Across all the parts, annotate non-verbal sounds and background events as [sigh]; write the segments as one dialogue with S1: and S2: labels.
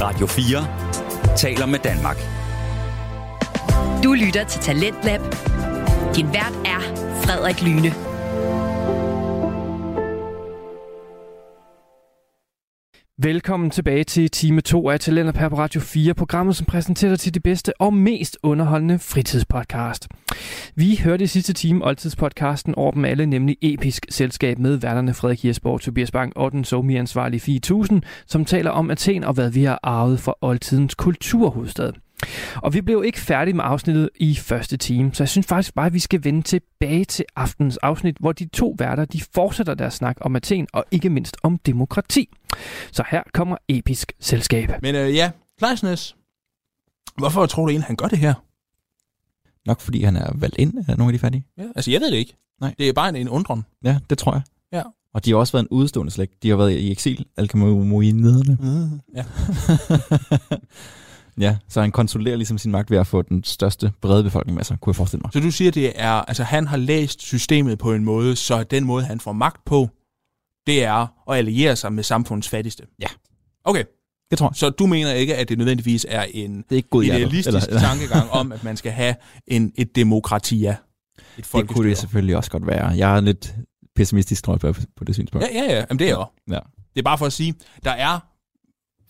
S1: Radio 4 taler med Danmark.
S2: Du lytter til Talentlab. Din vært er Frederik Lyne.
S3: Velkommen tilbage til time 2 af Talenter på Radio 4, programmet som præsenterer dig til det bedste og mest underholdende fritidspodcast. Vi hørte i sidste time oldtidspodcasten over dem alle, nemlig Episk Selskab med værterne Frederik Hirsborg, Tobias Bang og den somi-ansvarlige 4000, som taler om Athen og hvad vi har arvet fra oldtidens kulturhovedstad. Og vi blev ikke færdige med afsnittet i første time, så jeg synes faktisk bare, at vi skal vende tilbage til aftenens afsnit, hvor de to værter de fortsætter deres snak om Athen og ikke mindst om demokrati. Så her kommer Episk Selskab.
S4: Men øh, ja, Kleisnes. Hvorfor tror du egentlig, han gør det her?
S5: Nok fordi han er valgt ind af nogle af de fattige.
S4: Ja. Altså, jeg ved det ikke.
S5: Nej.
S4: Det er bare en, en undren.
S5: Ja, det tror jeg.
S4: Ja.
S5: Og de har også været en udstående slægt. De har været i eksil, alkemoiniderne.
S4: Mhm. Ja.
S5: [laughs] ja, så han kontrollerer ligesom sin magt ved at få den største brede befolkning med sig, kunne jeg forestille mig.
S4: Så du siger, det er, altså han har læst systemet på en måde, så den måde, han får magt på, det er at alliere sig med samfundets fattigste.
S5: Ja.
S4: Okay,
S5: Det tror jeg.
S4: så du mener ikke, at det nødvendigvis er en
S5: Det er ikke god
S4: idealistisk eller, eller. tankegang om, at man skal have en, et demokrati, ja. Et
S5: [laughs] Det kunne
S4: folkestyre.
S5: det selvfølgelig også godt være. Jeg er lidt pessimistisk, tror jeg, på, på det synspunkt.
S4: Ja, ja, ja. Jamen, det er jeg også.
S5: Ja.
S4: Det er bare for at sige, der er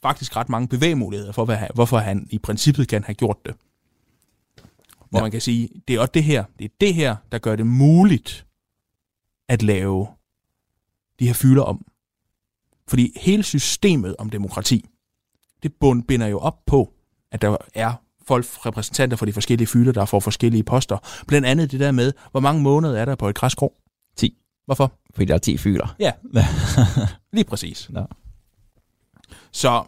S4: faktisk ret mange bevægemuligheder for, hvad, han- hvorfor han i princippet kan have gjort det. Hvor ja.
S5: Ja.
S4: man kan sige, det er også det her, det er det her, der gør det muligt at lave de her fylder om. Fordi hele systemet om demokrati, det bund- binder jo op på, at der er folk, repræsentanter for de forskellige fylder, der får forskellige poster. Blandt andet det der med, hvor mange måneder er der på et græsgrå?
S5: 10.
S4: Hvorfor?
S5: Fordi der er 10 fyler.
S4: Ja. Lige præcis.
S5: Nå.
S4: Så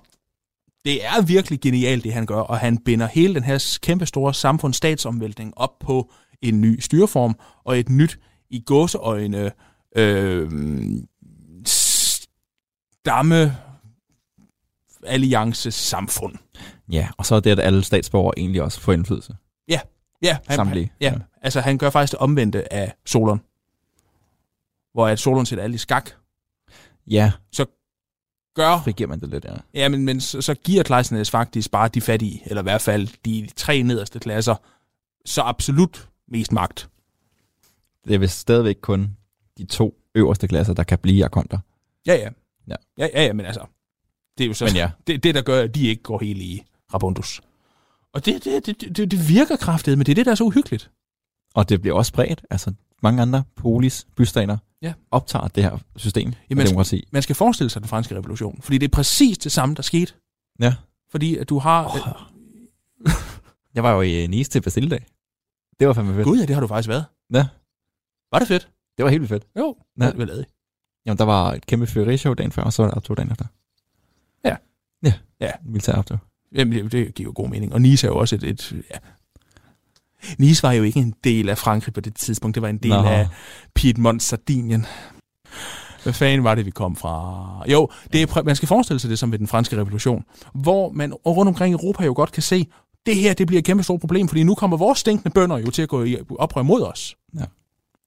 S4: det er virkelig genialt, det han gør, og han binder hele den her kæmpe store samfundsstatsomvæltning op på en ny styreform og et nyt i gåseøjne øh, stamme alliance samfund.
S5: ja, og så er det, at alle statsborgere egentlig også får indflydelse.
S4: Ja, han,
S5: Samtlige.
S4: ja,
S5: Ja.
S4: altså han gør faktisk det omvendte af Solon. Hvor at Solon sætter alle i skak,
S5: Ja,
S4: gør
S5: frigiver man det lidt, ja.
S4: Ja, men, men så, så giver Kleisnes faktisk bare de fattige, eller i hvert fald de tre nederste klasser, så absolut mest magt.
S5: Det er vist stadigvæk kun de to øverste klasser, der kan blive akonter.
S4: Ja, ja.
S5: Ja.
S4: Ja, ja, ja men altså, det er jo så
S5: Men ja.
S4: det, det, der gør, at de ikke går helt i Rabundus. Og det, det, det, det, det virker kraftigt, men det er det, der er så uhyggeligt.
S5: Og det bliver også spredt. Altså, mange andre polis, bystater,
S4: Ja.
S5: optager det her system Jamen,
S4: Jamen,
S5: af demokrati.
S4: Man skal forestille sig den franske revolution, fordi det er præcis det samme, der skete.
S5: Ja.
S4: Fordi at du har...
S5: Åh,
S4: Oh,
S5: Jeg var jo i Nice til Basilddag. Det var fandme fedt.
S4: Gud, ja, det har du faktisk været.
S5: Ja.
S4: Var det fedt?
S5: Det var helt vildt fedt.
S4: Jo.
S5: Ja.
S4: Ja. Vel, vel,
S5: Jamen, der var et kæmpe fyriershow dagen før, og så var der optog dagen efter.
S4: Ja.
S5: Ja,
S4: Ja.
S5: ja. militær optog.
S4: Jamen, det, det giver jo god mening. Og Nice er jo også et... et ja. Nice var jo ikke en del af Frankrig på det tidspunkt. Det var en del
S5: Nå.
S4: Nå. af Piedmont, Sardinien. Hvad fanden var det, vi kom fra? Jo, det er, præ- man skal forestille sig det som ved den franske revolution, hvor man rundt omkring i Europa jo godt kan se, det her det bliver et kæmpe stort problem, fordi nu kommer vores stinkende bønder jo til at gå i oprør mod os.
S5: Ja.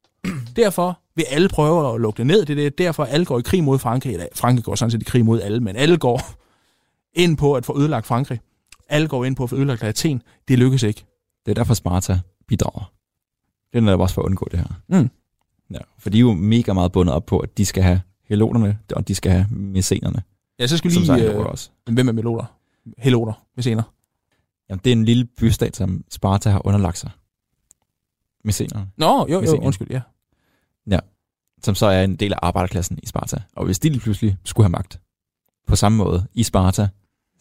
S4: [clears throat] Derfor vil alle prøve at lukke det ned. Det er det- derfor, alle går i krig mod Frankrig. Eller Frankrig går sådan set i krig mod alle, men alle går [laughs] ind på at få ødelagt Frankrig. Alle går ind på at få ødelagt Athen. Det lykkes ikke.
S5: Det er derfor Sparta bidrager. Det er netop også for at undgå det her.
S4: Mm.
S5: Ja, for de er jo mega meget bundet op på, at de skal have heloterne, og de skal have messenerne,
S4: Ja, så skal vi
S5: som så er
S4: lige...
S5: heloter
S4: Øh,
S5: også.
S4: hvem er meloter? Heloter, med senere.
S5: Jamen, det er en lille bystat, som Sparta har underlagt sig. Messenerne.
S4: Nå, jo, jo,
S5: Messenerne.
S4: undskyld, ja.
S5: som så er en del af arbejderklassen i Sparta. Og hvis de lige pludselig skulle have magt på samme måde i Sparta,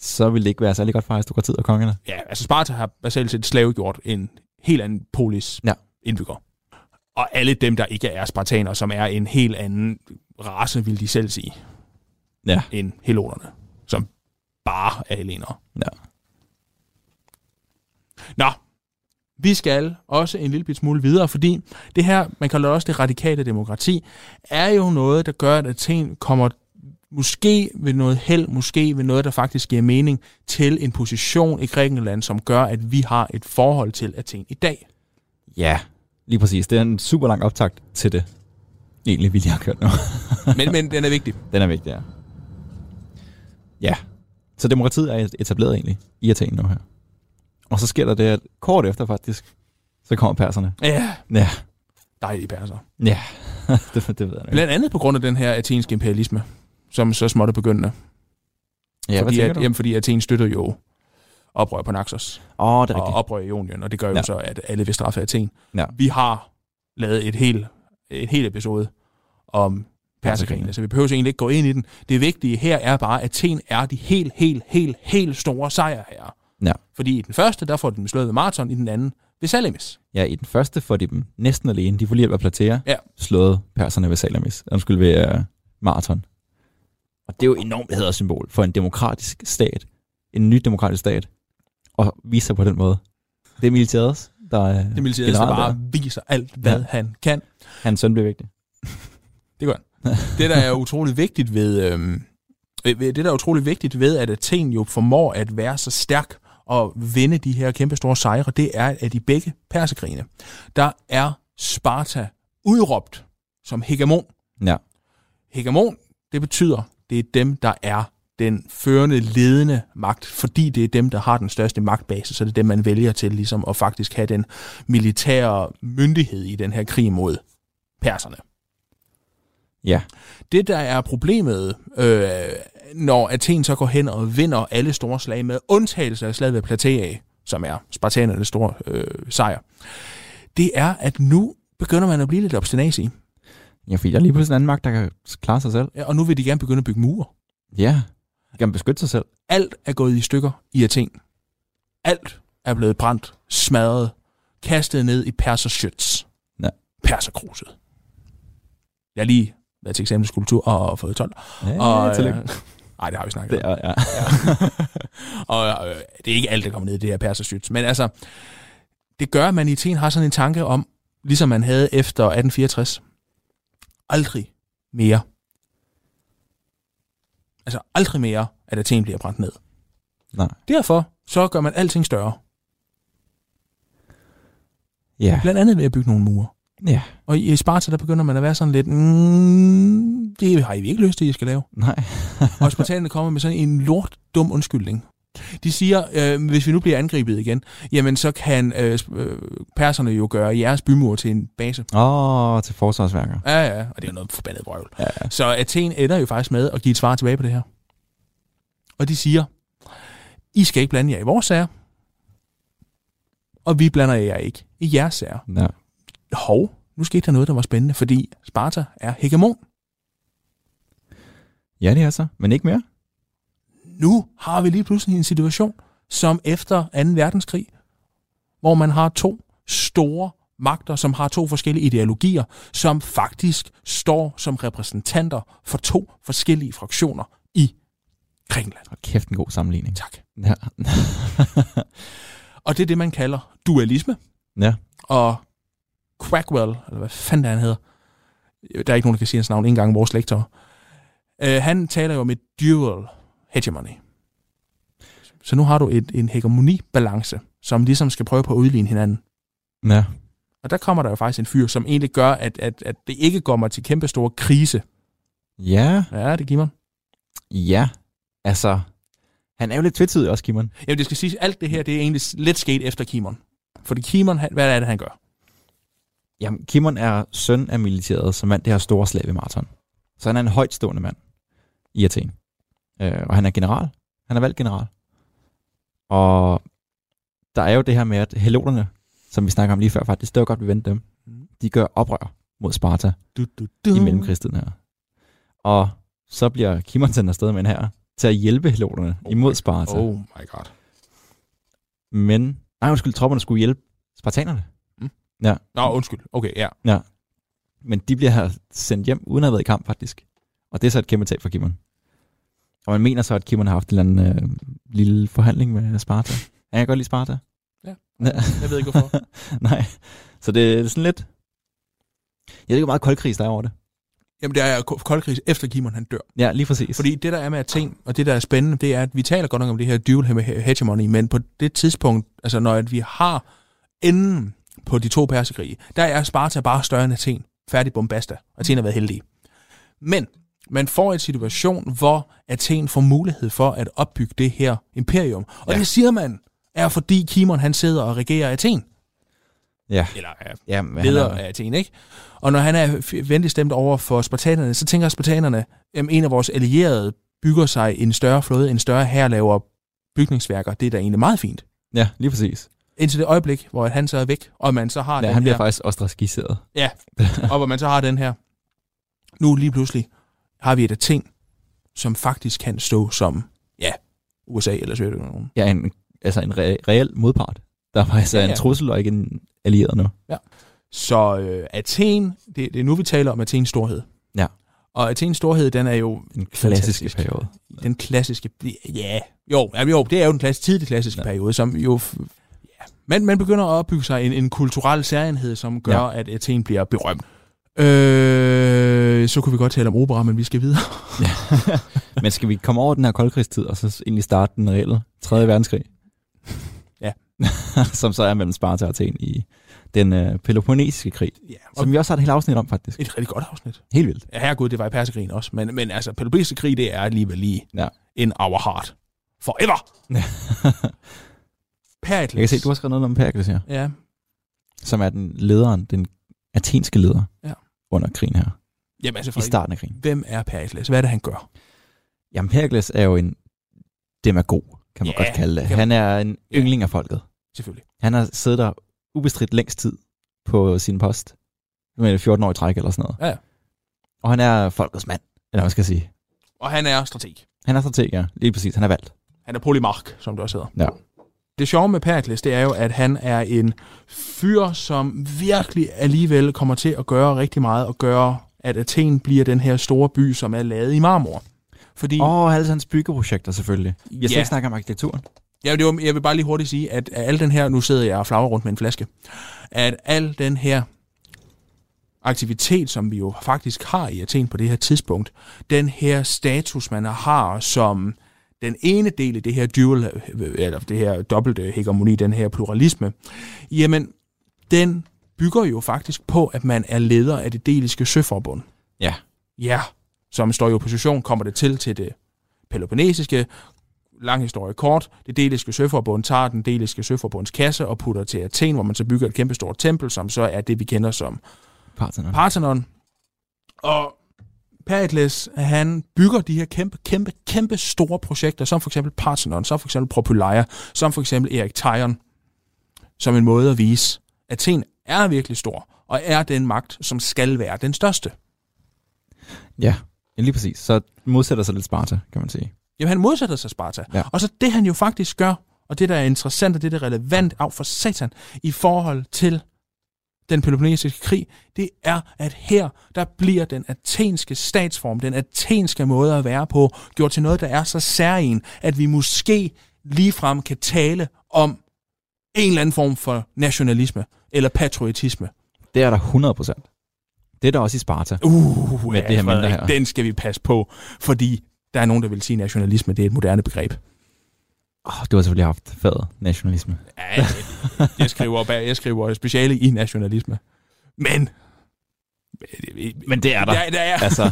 S5: så ville det ikke være særlig godt for aristokratiet og kongerne.
S4: Ja, altså Sparta har basalt set slavegjort en helt anden polis ja.
S5: Ja.
S4: indbygger. Og alle dem, der ikke er spartanere, som er en helt anden race, vil de selv sige,
S5: Ja.
S4: end heloterne, som bare er helenere.
S5: Ja.
S4: Nå, vi skal også en lille bit smule videre, fordi det her, man kalder det også det radikale demokrati, er jo noget, der gør, at Athen kommer måske ved noget held, måske ved noget, der faktisk giver mening, til en position i Grækenland, som gør, at vi har et forhold til Athen i dag.
S5: Ja, lige præcis. Det er en super lang optakt til det. Egentlig [laughs] ville jeg have kørt nu.
S4: Men, men den er vigtig.
S5: Den er vigtig, ja. Ja. Så demokratiet er etableret egentlig i Athen nu her. Og så sker der det, at kort efter faktisk, så kommer perserne. [laughs]
S4: Ja.
S5: Ja.
S4: Dejlige perser.
S5: Ja, det, det ved jeg nu ikke.
S4: Blandt andet på grund af den her athenske imperialisme, som så småt er begyndende.
S5: Ja, hvad
S4: fordi,
S5: tænker
S4: at,
S5: du? Åh,
S4: jamen, fordi Athen støttede jo oprør på Naxos
S5: oh, det er
S4: og
S5: rigtigt.
S4: oprør i Ionien, og det gør jo
S5: Ja.
S4: ja. så, at alle vil straffe Athen.
S5: Ja.
S4: Vi har lavet et helt et hel episode om perserkrigene,
S5: Perserkrigene.
S4: så vi behøver egentlig ikke gå ind i den. Det vigtige her er bare, at Athen er de helt, helt, helt, helt store sejre her.
S5: Ja.
S4: Fordi i den første, der får de dem slået ved Marathon, i den anden ved Salamis.
S5: Ja, i den første får de dem næsten alene. De får lige hjælp af Platea,
S4: Ja.
S5: slået perserne ved Salamis. Undskyld, ved uh, Marathon. Og det er jo enormt hædersymbol for en demokratisk stat. En ny demokratisk stat. Og vise sig på den måde. Det er militæret, der er
S4: Det militære så
S5: generelt
S4: bare
S5: der.
S4: viser alt, hvad
S5: Ja.
S4: ja. han kan.
S5: Hans søn bliver vigtig.
S4: det, der er utrolig vigtigt ved, øhm, ved- ved- det, der er utrolig vigtigt ved, at Athen jo formår at være så stærk og vinde de her kæmpe store sejre, det er, at i begge persekrigene, der er Sparta udråbt som hegemon.
S5: Ja.
S4: Hegemon, det betyder, det er dem, der er den førende, ledende magt, fordi det er dem, der har den største magtbase, så det er dem, man vælger til ligesom at faktisk have den militære myndighed i den her krig mod perserne
S5: Ja.
S4: det, der er problemet, øh, når Athen så går hen og vinder alle store slag med undtagelse af slaget ved Platea, som er spartanernes store øh, sejr, det er, at nu begynder man at blive lidt obstinacy.
S5: Ja, fordi der er lige pludselig en anden magt, der kan klare sig selv.
S4: Ja, øh, og nu vil de gerne begynde at bygge mure.
S5: Ja. De kan beskytte sig selv.
S4: Alt er gået i stykker i Athen. Alt er blevet brændt, smadret, kastet ned i perserschütz.
S5: Ja.
S4: Perserkruset. Jeg har lige været til eksamenskultur og fået 12.
S5: Ja,
S4: og,
S5: tillykke.
S4: øh, Ej, det har vi snakket
S5: Det
S4: om.
S5: er, ja.
S4: Og øh, det er ikke alt, der kommer ned i det her persersyts. Men altså, det gør, at man i Athen har sådan en tanke om, ligesom man havde efter 1864, aldrig mere. Altså aldrig mere, at Athen bliver brændt ned.
S5: Nej.
S4: Derfor så gør man alting større.
S5: Ja.
S4: Blandt andet ved at bygge nogle mure.
S5: Ja.
S4: Og i Sparta, der begynder man at være sådan lidt, mm, det har I ikke lyst til, I skal lave.
S5: Nej. [laughs]
S4: Og spartanerne kommer med sådan en lort dum undskyldning. De siger, øh, hvis vi nu bliver angrebet igen, jamen så kan øh, sp- øh, perserne jo gøre jeres bymur til en base.
S5: Åh, oh, til forsvarsværker.
S4: Ja, ja, og det er jo noget forbandet brøvl.
S5: Ja, ja.
S4: Så Athen ender jo faktisk med at give et svar tilbage på det her. Og de siger, I skal ikke blande jer i vores sager, og vi blander jer ikke i jeres sager.
S5: ja.
S4: Hov, nu skete der noget, der var spændende, fordi Sparta er hegemon.
S5: Ja, det er så. Men ikke mere?
S4: nu har vi lige pludselig en situation, som efter 2. verdenskrig, hvor man har to store magter, som har to forskellige ideologier, som faktisk står som repræsentanter for to forskellige fraktioner i Grækenland.
S5: Og kæft en god sammenligning.
S4: Tak.
S5: Ja.
S4: [laughs] Og det er det, man kalder dualisme.
S5: ja.
S4: Og Quackwell, eller hvad fanden det er, han hedder, øh, der er ikke nogen, der kan sige hans navn, ikke engang vores lektor. Øh, han taler jo om et dual hegemony. Så nu har du et, en hegemonibalance, som ligesom skal prøve på at udligne hinanden.
S5: Ja.
S4: Og der kommer der jo faktisk en fyr, som egentlig gør, at, at, at det ikke kommer til kæmpe store krise.
S5: Ja.
S4: Ja, det giver man.
S5: Ja. Altså, han er jo lidt tvetydig også, Kimon.
S4: Jamen, det skal siges, alt det her, det er egentlig lidt sket efter Kimon. Fordi Kimon, han, hvad er det, han gør?
S5: Jamen, Kimon er søn af militæret, som vandt det her store slag ved Marathon. Så han er en højtstående mand i Athen. Øh, og han er general. Han er valgt general. Og der er jo det her med, at heloterne, som vi snakker om lige før faktisk, det var godt, vi vendte dem. De gør oprør mod Sparta
S4: Du, du, du.
S5: i mellemkrigstiden her. Og så bliver Kimon sendt afsted med en her til at hjælpe heloterne
S4: Oh
S5: imod
S4: my-
S5: Sparta.
S4: Oh my god.
S5: Men, nej undskyld, tropperne skulle hjælpe spartanerne.
S4: Nå, undskyld. Okay, ja.
S5: Men de bliver her sendt hjem uden at have været i kamp, faktisk. Og det er så et kæmpe tab for Kimon. Og man mener så, at Kimon har haft en eller anden øh, lille forhandling med Sparta. Han kan godt lide Sparta.
S4: Ja.
S5: ja. [laughs]
S4: Jeg ved ikke, hvorfor.
S5: Nej. Så det er sådan lidt... Jeg ved ikke, hvor meget koldkrig der er over det.
S4: [laughs] Jamen, det er koldkrig efter Kimon, han dør.
S5: Ja, lige præcis.
S4: Fordi det, der er med Athen, og det, der er spændende, det er, at vi taler godt nok om det her dual he- hegemony, men på det tidspunkt, altså når at vi har enden på de to persekrige, der er Sparta bare større end Athen. Færdig bombasta. Athen har været heldig. Men man får en situation, hvor Athen får mulighed for at opbygge det her imperium. Og ja.
S5: Ja.
S4: det siger man er fordi Kimon han sidder og regerer Athen.
S5: Ja,
S4: Eller er
S5: ja men han
S4: leder
S5: er,
S4: af Athen, ikke? Og når han er f- venligt stemt over for spartanerne, så tænker spartanerne, at en af vores allierede bygger sig en større flåde, en større her laver bygningsværker. Det er da egentlig meget fint.
S5: ja, lige præcis.
S4: Indtil det øjeblik, hvor han så er væk, og man så har
S5: Ja,
S4: Ah, den
S5: han
S4: her,
S5: bliver faktisk ostraciseret.
S4: og hvor man så har den her. Nu lige pludselig har vi et Athen, som faktisk kan stå som, ja, USA eller Sovjetunionen.
S5: Ja, en, altså en re- reel modpart. Der var altså
S4: Ja,
S5: ja, ja.
S4: ja.
S5: en trussel og ikke en allieret nu.
S4: Så øh, Athen, det, det er nu vi taler om Athens storhed.
S5: Ja.
S4: Og Athens storhed, den er jo
S5: Den klassiske
S4: Fantastisk.
S5: periode.
S4: den klassiske... Ja, jo, jamen jo det er jo den klassiske, tidlig klassiske ja.
S5: Ja.
S4: periode, som jo... f- Ja. Man, man begynder at opbygge sig en, en kulturel særenhed, som gør, ja. at Athen bliver berømt. Øh, så kunne vi godt tale om opera, men vi skal
S5: [laughs]
S4: videre.
S5: Men skal vi komme over den her koldkrigstid, og så egentlig starte den reelle 3. verdenskrig?
S4: [laughs] Ja.
S5: [laughs] som så er mellem Sparta og Athen i den øh, peloponnesiske krig,
S4: Ja, og
S5: som vi også har et helt afsnit om faktisk.
S4: et rigtig godt afsnit.
S5: Helt vildt.
S4: Ja, herregud, det var i persekrigen også. Men, men altså, Peloponnesisk krig, det er alligevel lige
S5: Ja.
S4: in our heart.
S5: [laughs]
S4: Forever! Perikles.
S5: Jeg kan se, du har skrevet noget om Perikles her,
S4: Ja,
S5: som er den lederen, den athenske leder
S4: Ja.
S5: under krigen her,
S4: jamen altså,
S5: i
S4: Frederik,
S5: starten af krigen.
S4: hvem er Perikles? Hvad er det, han gør?
S5: Jamen, Perikles er jo en demagog, kan man
S4: Ja,
S5: ja, godt kalde det.
S4: det kan
S5: Han er en
S4: Ja.
S5: yndling af folket.
S4: Selvfølgelig.
S5: Han har siddet der ubestridt længst tid på sin post. Nu er det 14 år i træk eller sådan noget.
S4: Ja, ja.
S5: Og han er folkets mand, eller hvad man skal sige.
S4: Og han er strateg.
S5: Han er strateg, ja. Lige præcis. Han er valgt.
S4: Han er polymark, som det også hedder.
S5: Ja.
S4: Det sjove med Perikles, det er jo, at han er en fyr, som virkelig alligevel kommer til at gøre rigtig meget, og gøre, at Athen bliver den her store by, som er lavet i marmor. Fordi, oh,
S5: Og alle hans byggeprojekter selvfølgelig. Vi har slet
S4: Ja.
S5: ikke snakket om arkitekturen.
S4: ja, det var, jeg vil bare lige hurtigt sige, at al den her, nu sidder jeg og flagrer rundt med en flaske, at al den her aktivitet, som vi jo faktisk har i Athen på det her tidspunkt, den her status, man har som den ene del i det her dual, eller det her dobbelte hegemoni, den her pluralisme, jamen, den bygger jo faktisk på, at man er leder af det deliske søforbund.
S5: Ja.
S4: Ja, som står i opposition, kommer det til til det peloponnesiske, lang historie kort, det deliske søforbund tager den deliske søforbunds kasse og putter til Athen, hvor man så bygger et kæmpestort tempel, som så er det, vi kender som
S5: Parthenon.
S4: Parthenon. Og Perikles, han bygger de her kæmpe, kæmpe, kæmpe store projekter, som for eksempel Parthenon, som for eksempel Propylaia, som for eksempel Erik Theon, som en måde at vise, at Athen er virkelig stor, og er den magt, som skal være den største.
S5: ja. ja, lige præcis. Så modsætter sig lidt Sparta, kan man sige.
S4: Jamen, han modsætter sig Sparta. Ja.
S5: Ja.
S4: Og så det, han jo faktisk gør, og det, der er interessant, og det, der er relevant af for satan, i forhold til den peloponnesiske krig, det er, at her, der bliver den athenske statsform, den athenske måde at være på, gjort til noget, der er så særlig, at vi måske ligefrem kan tale om en eller anden form for nationalisme eller patriotisme.
S5: Det er der 100 procent. Det er der også i Sparta.
S4: Uh, ja,
S5: det her mindre
S4: Frederik,
S5: her.
S4: den skal vi passe på, fordi der er nogen, der vil sige, at nationalisme det er et moderne begreb.
S5: Oh, du har selvfølgelig haft faget nationalisme.
S4: Ja, jeg, jeg skriver bag, jeg skriver speciale i nationalisme. Men
S5: Men det er der.
S4: der, der, er,
S5: Altså,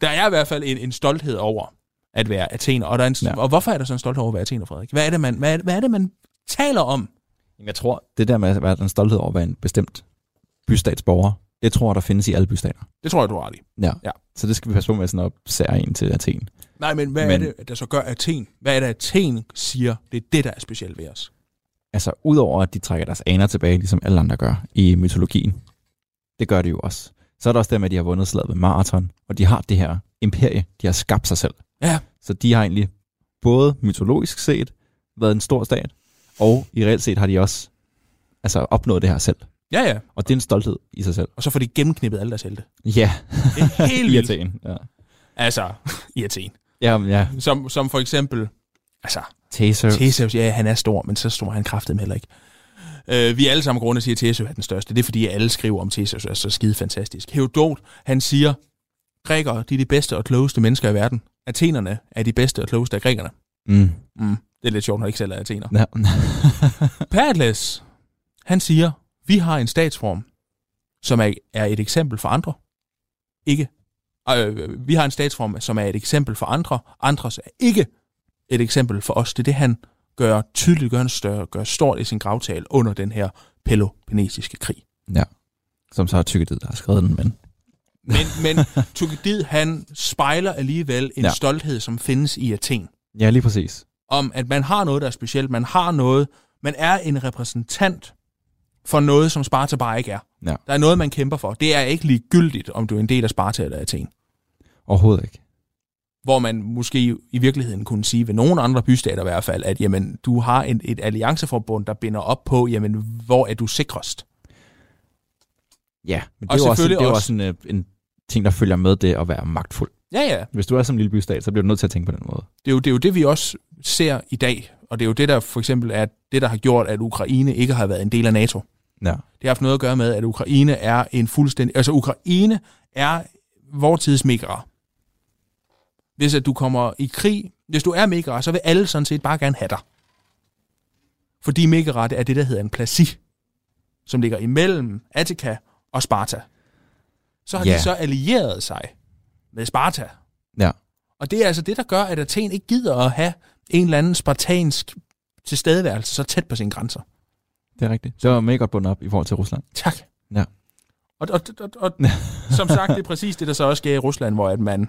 S4: der er i hvert fald en, en stolthed over at være athener. Og, der er en, ja.
S5: Ja.
S4: og hvorfor er der så en stolthed over at være athener, Frederik? Hvad er det, man, hvad, er- hvad er det, man taler om?
S5: Jamen, jeg tror, det der med at være en stolthed over at være en bestemt bystatsborger, det tror jeg, der findes i alle bystater.
S4: Det tror jeg, du har ret i.
S5: Ja.
S4: Ja.
S5: Så det skal vi passe på med sådan at sære en til Athen.
S4: Nej, men hvad
S5: Men-
S4: er det, der så gør Athen? Hvad er det, Athen siger? Det er det, der er specielt ved os.
S5: Altså, udover at de trækker deres aner tilbage, ligesom alle andre gør i mytologien, det gør de jo også. Så er der også det med, at de har vundet slaget ved maraton, og de har det her imperie, de har skabt sig selv.
S4: Ja.
S5: Så de har egentlig både mytologisk set været en stor stat, og i reelt set har de også altså, opnået det her selv.
S4: Ja, ja.
S5: Og det er en stolthed i sig selv.
S4: Og så får de gennemknippet alle deres helte.
S5: Ja,
S4: Det er helt
S5: [laughs] i
S4: vildt.
S5: Athen. Ja.
S4: Altså, [laughs] i Athen.
S5: Jamen, ja.
S4: Som, som for eksempel, altså,
S5: Taser.
S4: Theseus, ja, han er stor, men så stor er han kraftet heller ikke. Øh, vi er alle sammen grunde til at Theseus er den største. Det er fordi, alle skriver om Theseus er så skide fantastisk. Herodot, han siger, grækere, de er de bedste og klogeste mennesker i verden. Athenerne er de bedste og klogeste af grækerne.
S5: Mm.
S4: Mm. Det er lidt sjovt, når jeg ikke selv er athener.
S5: Ja. [laughs]
S4: Pericles, han siger, vi har en statsform, som er, er et eksempel for andre. Ikke øh, vi har en statsform, som er et eksempel for andre. Andres er ikke et eksempel for os. Det er det, han gør tydeligt, gør han større, gør stort i sin gravtal under den her peloponnesiske krig.
S5: Som så har tykket der har skrevet den, men
S4: Men, men [laughs] Thukydid, han spejler alligevel en ja.
S5: Ja.
S4: stolthed, som findes i Athen.
S5: ja, lige præcis.
S4: Om, at man har noget, der er specielt. Man har noget. Man er en repræsentant for noget, som Sparta bare ikke er.
S5: Ja.
S4: Der er noget, man kæmper for. Det er ikke ligegyldigt, om du er en del af Sparta eller Athen.
S5: Overhovedet ikke.
S4: Hvor man måske i virkeligheden kunne sige ved nogle andre bystater i hvert fald, at jamen, du har en, et allianceforbund, der binder op på, jamen, hvor er du sikrest?
S5: Ja, men det
S4: Og
S5: er jo også, det
S4: selvfølgelig
S5: er jo
S4: også-
S5: også en, øh, en ting, der følger med det at være magtfuld.
S4: Ja, ja.
S5: Hvis du er som en lille bystat, så bliver du nødt til at tænke på den måde.
S4: det er, jo, det er jo det, vi også ser i dag, og det er jo det, der for eksempel er det, der har gjort, at Ukraine ikke har været en del af NATO.
S5: Ja.
S4: Det har haft noget at gøre med, at Ukraine er en fuldstændig... Altså, Ukraine er vor tids migrer. Hvis at du kommer i krig, hvis du er migrer, så vil alle sådan set bare gerne have dig. Fordi migrer, det er det, der hedder en plasi, som ligger imellem Attica og Sparta. Så har
S5: Ja.
S4: de så allieret sig med Sparta,
S5: Ja.
S4: og det er altså det, der gør, at Athen ikke gider at have en eller anden spartansk tilstedeværelse så tæt på sine grænser.
S5: Det er rigtigt. Det var mega godt bundet op i forhold til Rusland.
S4: Tak.
S5: Ja.
S4: Og, og, og, og
S5: [laughs]
S4: som sagt, det er præcis det, der så også sker i Rusland, hvor at man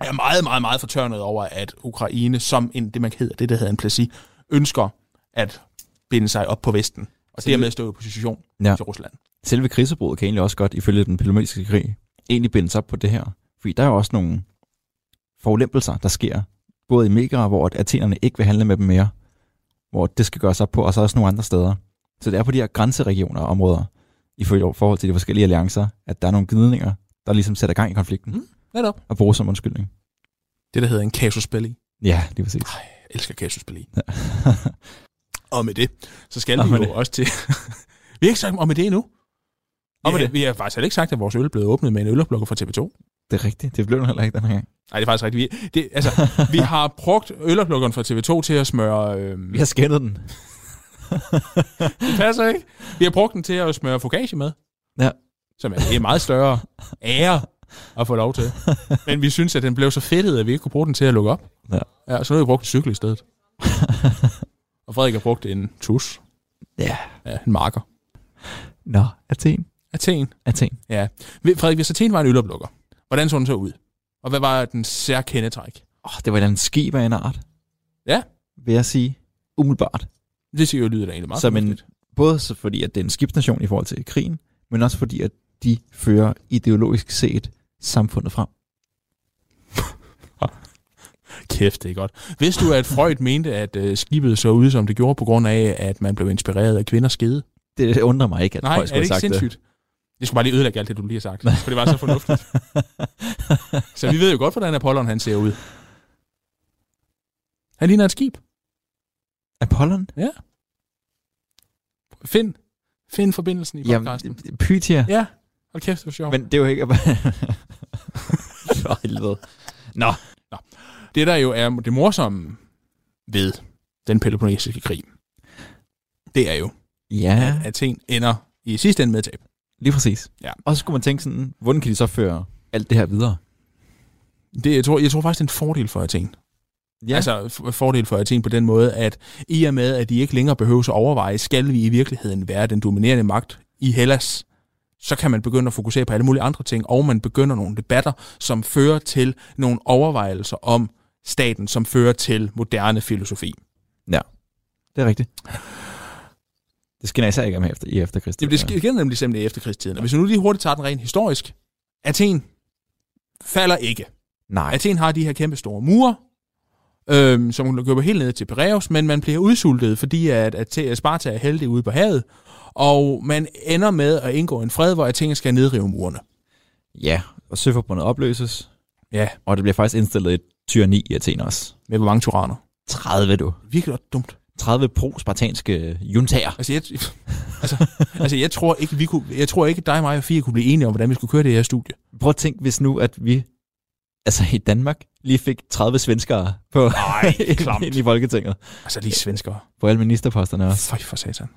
S4: er meget, meget, meget fortørnet over, at Ukraine, som en, det man hedder, det der hedder en plasi, ønsker at binde sig op på Vesten, og
S5: Så
S4: dermed stå i opposition ja.
S5: Ja.
S4: til Rusland.
S5: Selve krigsforbruget kan egentlig også godt, ifølge den pelomesiske krig, egentlig bindes op på det her. Fordi der er jo også nogle forulempelser, der sker. Både i Megara, hvor at athenerne ikke vil handle med dem mere, hvor det skal gøres op på, og så også nogle andre steder. Så det er på de her grænseregioner og områder, ifølge forhold til de forskellige alliancer, at der er nogle gnidninger, der ligesom sætter gang i konflikten
S4: Netop.
S5: og bruges som undskyldning.
S4: Det, der hedder en casus belli.
S5: Ja, lige præcis.
S4: Jeg elsker casus belli. Og med det, så skal
S5: Og
S4: vi jo
S5: med
S4: det.
S5: det.
S4: også til... [laughs] vi har ikke sagt om med det endnu.
S5: Og med
S4: vi, har,
S5: det.
S4: vi har faktisk heller ikke sagt, at vores øl er blevet åbnet med en øloplukker fra TV2.
S5: [laughs] det er rigtigt. Det blev den heller ikke den her gang.
S4: Nej, det er faktisk rigtigt. Vi, det,
S5: [laughs]
S4: altså, vi har brugt øloplukkeren fra TV2 til at smøre... Øh,
S5: Vi har skændet den.
S4: det passer ikke. Vi har brugt den til at smøre focaccia med.
S5: Ja.
S4: Som er det er en meget større ære at få lov
S5: [laughs]
S4: til. Men vi synes, at den blev så fedtet, at vi ikke kunne bruge den til at lukke op.
S5: Ja.
S4: ja så nu har vi brugt en cykel i stedet. Og Frederik har brugt en tus.
S5: Ja.
S4: Ja, en marker.
S5: Nå, Athen.
S4: Athen.
S5: Athen.
S4: Ved- Frederik, hvis Athen var en øloplukker, hvordan så den så ud? Og hvad var den særkendetræk?
S5: Åh, det var et eller andet skib af en art.
S4: Ja.
S5: Vil jeg sige. Umiddelbart.
S4: Det siger jo lyder da egentlig meget
S5: Som en-
S4: fornuftigt.
S5: Både så fordi, at det er en skibsnation i forhold til krigen, men også fordi, at de fører ideologisk set samfundet frem.
S4: Kæft, det er godt. Vidste du, at Freud mente, at øh, skibet så ud, som det gjorde, på grund af, at man blev inspireret af kvinders skede?
S5: Det undrer mig ikke, at
S4: Nej,
S5: folk
S4: er det
S5: skulle
S4: ikke
S5: have sagt
S4: sindssygt? Det. det skulle bare lige ødelægge alt det, du lige har sagt. For det var så fornuftigt. Så vi ved jo godt, hvordan Apollon han ser ud. Han ligner et skib.
S5: Apollon?
S4: Find, find forbindelsen i
S5: Jamen,
S4: podcasten. Jamen,
S5: Pythia.
S4: ja, hold kæft, det var sjovt.
S5: Men det er jo
S4: [laughs]
S5: ikke... For helvede.
S4: det, der jo er det morsomme ved den peloponnesiske krig, det er jo,
S5: Ja,
S4: at Athen ender i sidste ende med et tab.
S5: lige præcis.
S4: Ja.
S5: Og så skulle man tænke sådan, hvordan kan de så føre alt det her videre?
S4: Det, jeg, tror, jeg tror faktisk, det er en fordel for Athen. Ja. Altså f- fordel for Athen på den måde, at i og med, at de ikke længere behøver at overveje, skal vi i virkeligheden være den dominerende magt i Hellas, så kan man begynde at fokusere på alle mulige andre ting, og man begynder nogle debatter, som fører til nogle overvejelser om staten, som fører til moderne filosofi.
S5: Det er rigtigt. Det skinner især ikke om efter, i efterkrigstil.
S4: Jamen, det sker sker nemlig simpelthen i efterkrigstiden. Og hvis vi nu lige hurtigt tager den rent historisk, Athen falder ikke.
S5: Nej,
S4: Athen har de her kæmpe store mure, øhm, som løber helt ned til Piraeus, men man bliver udsultet, fordi at, at Athe- Sparta er heldig ude på havet, og man ender med at indgå en fred, hvor Athen skal nedrive murene.
S5: ja. Og søforbundet opløses,
S4: Ja,
S5: og det bliver faktisk indstillet et tyranni i Athen også.
S4: med hvor mange tyranner.
S5: 30, du.
S4: Virkelig også dumt.
S5: 30 pro-spartanske juntager.
S4: Altså, jeg, [laughs] altså, altså, jeg tror ikke, vi kunne, jeg tror ikke, dig, mig og Fie kunne blive enige om, hvordan vi skulle køre det her studie.
S5: Prøv at tænke, hvis nu, at vi altså i Danmark lige fik 30 svenskere på
S4: Nej,
S5: [laughs] ind, ind i Folketinget.
S4: [laughs] Altså, lige svenskere.
S5: På alle ministerposterne også. [laughs]
S4: Føj for satan.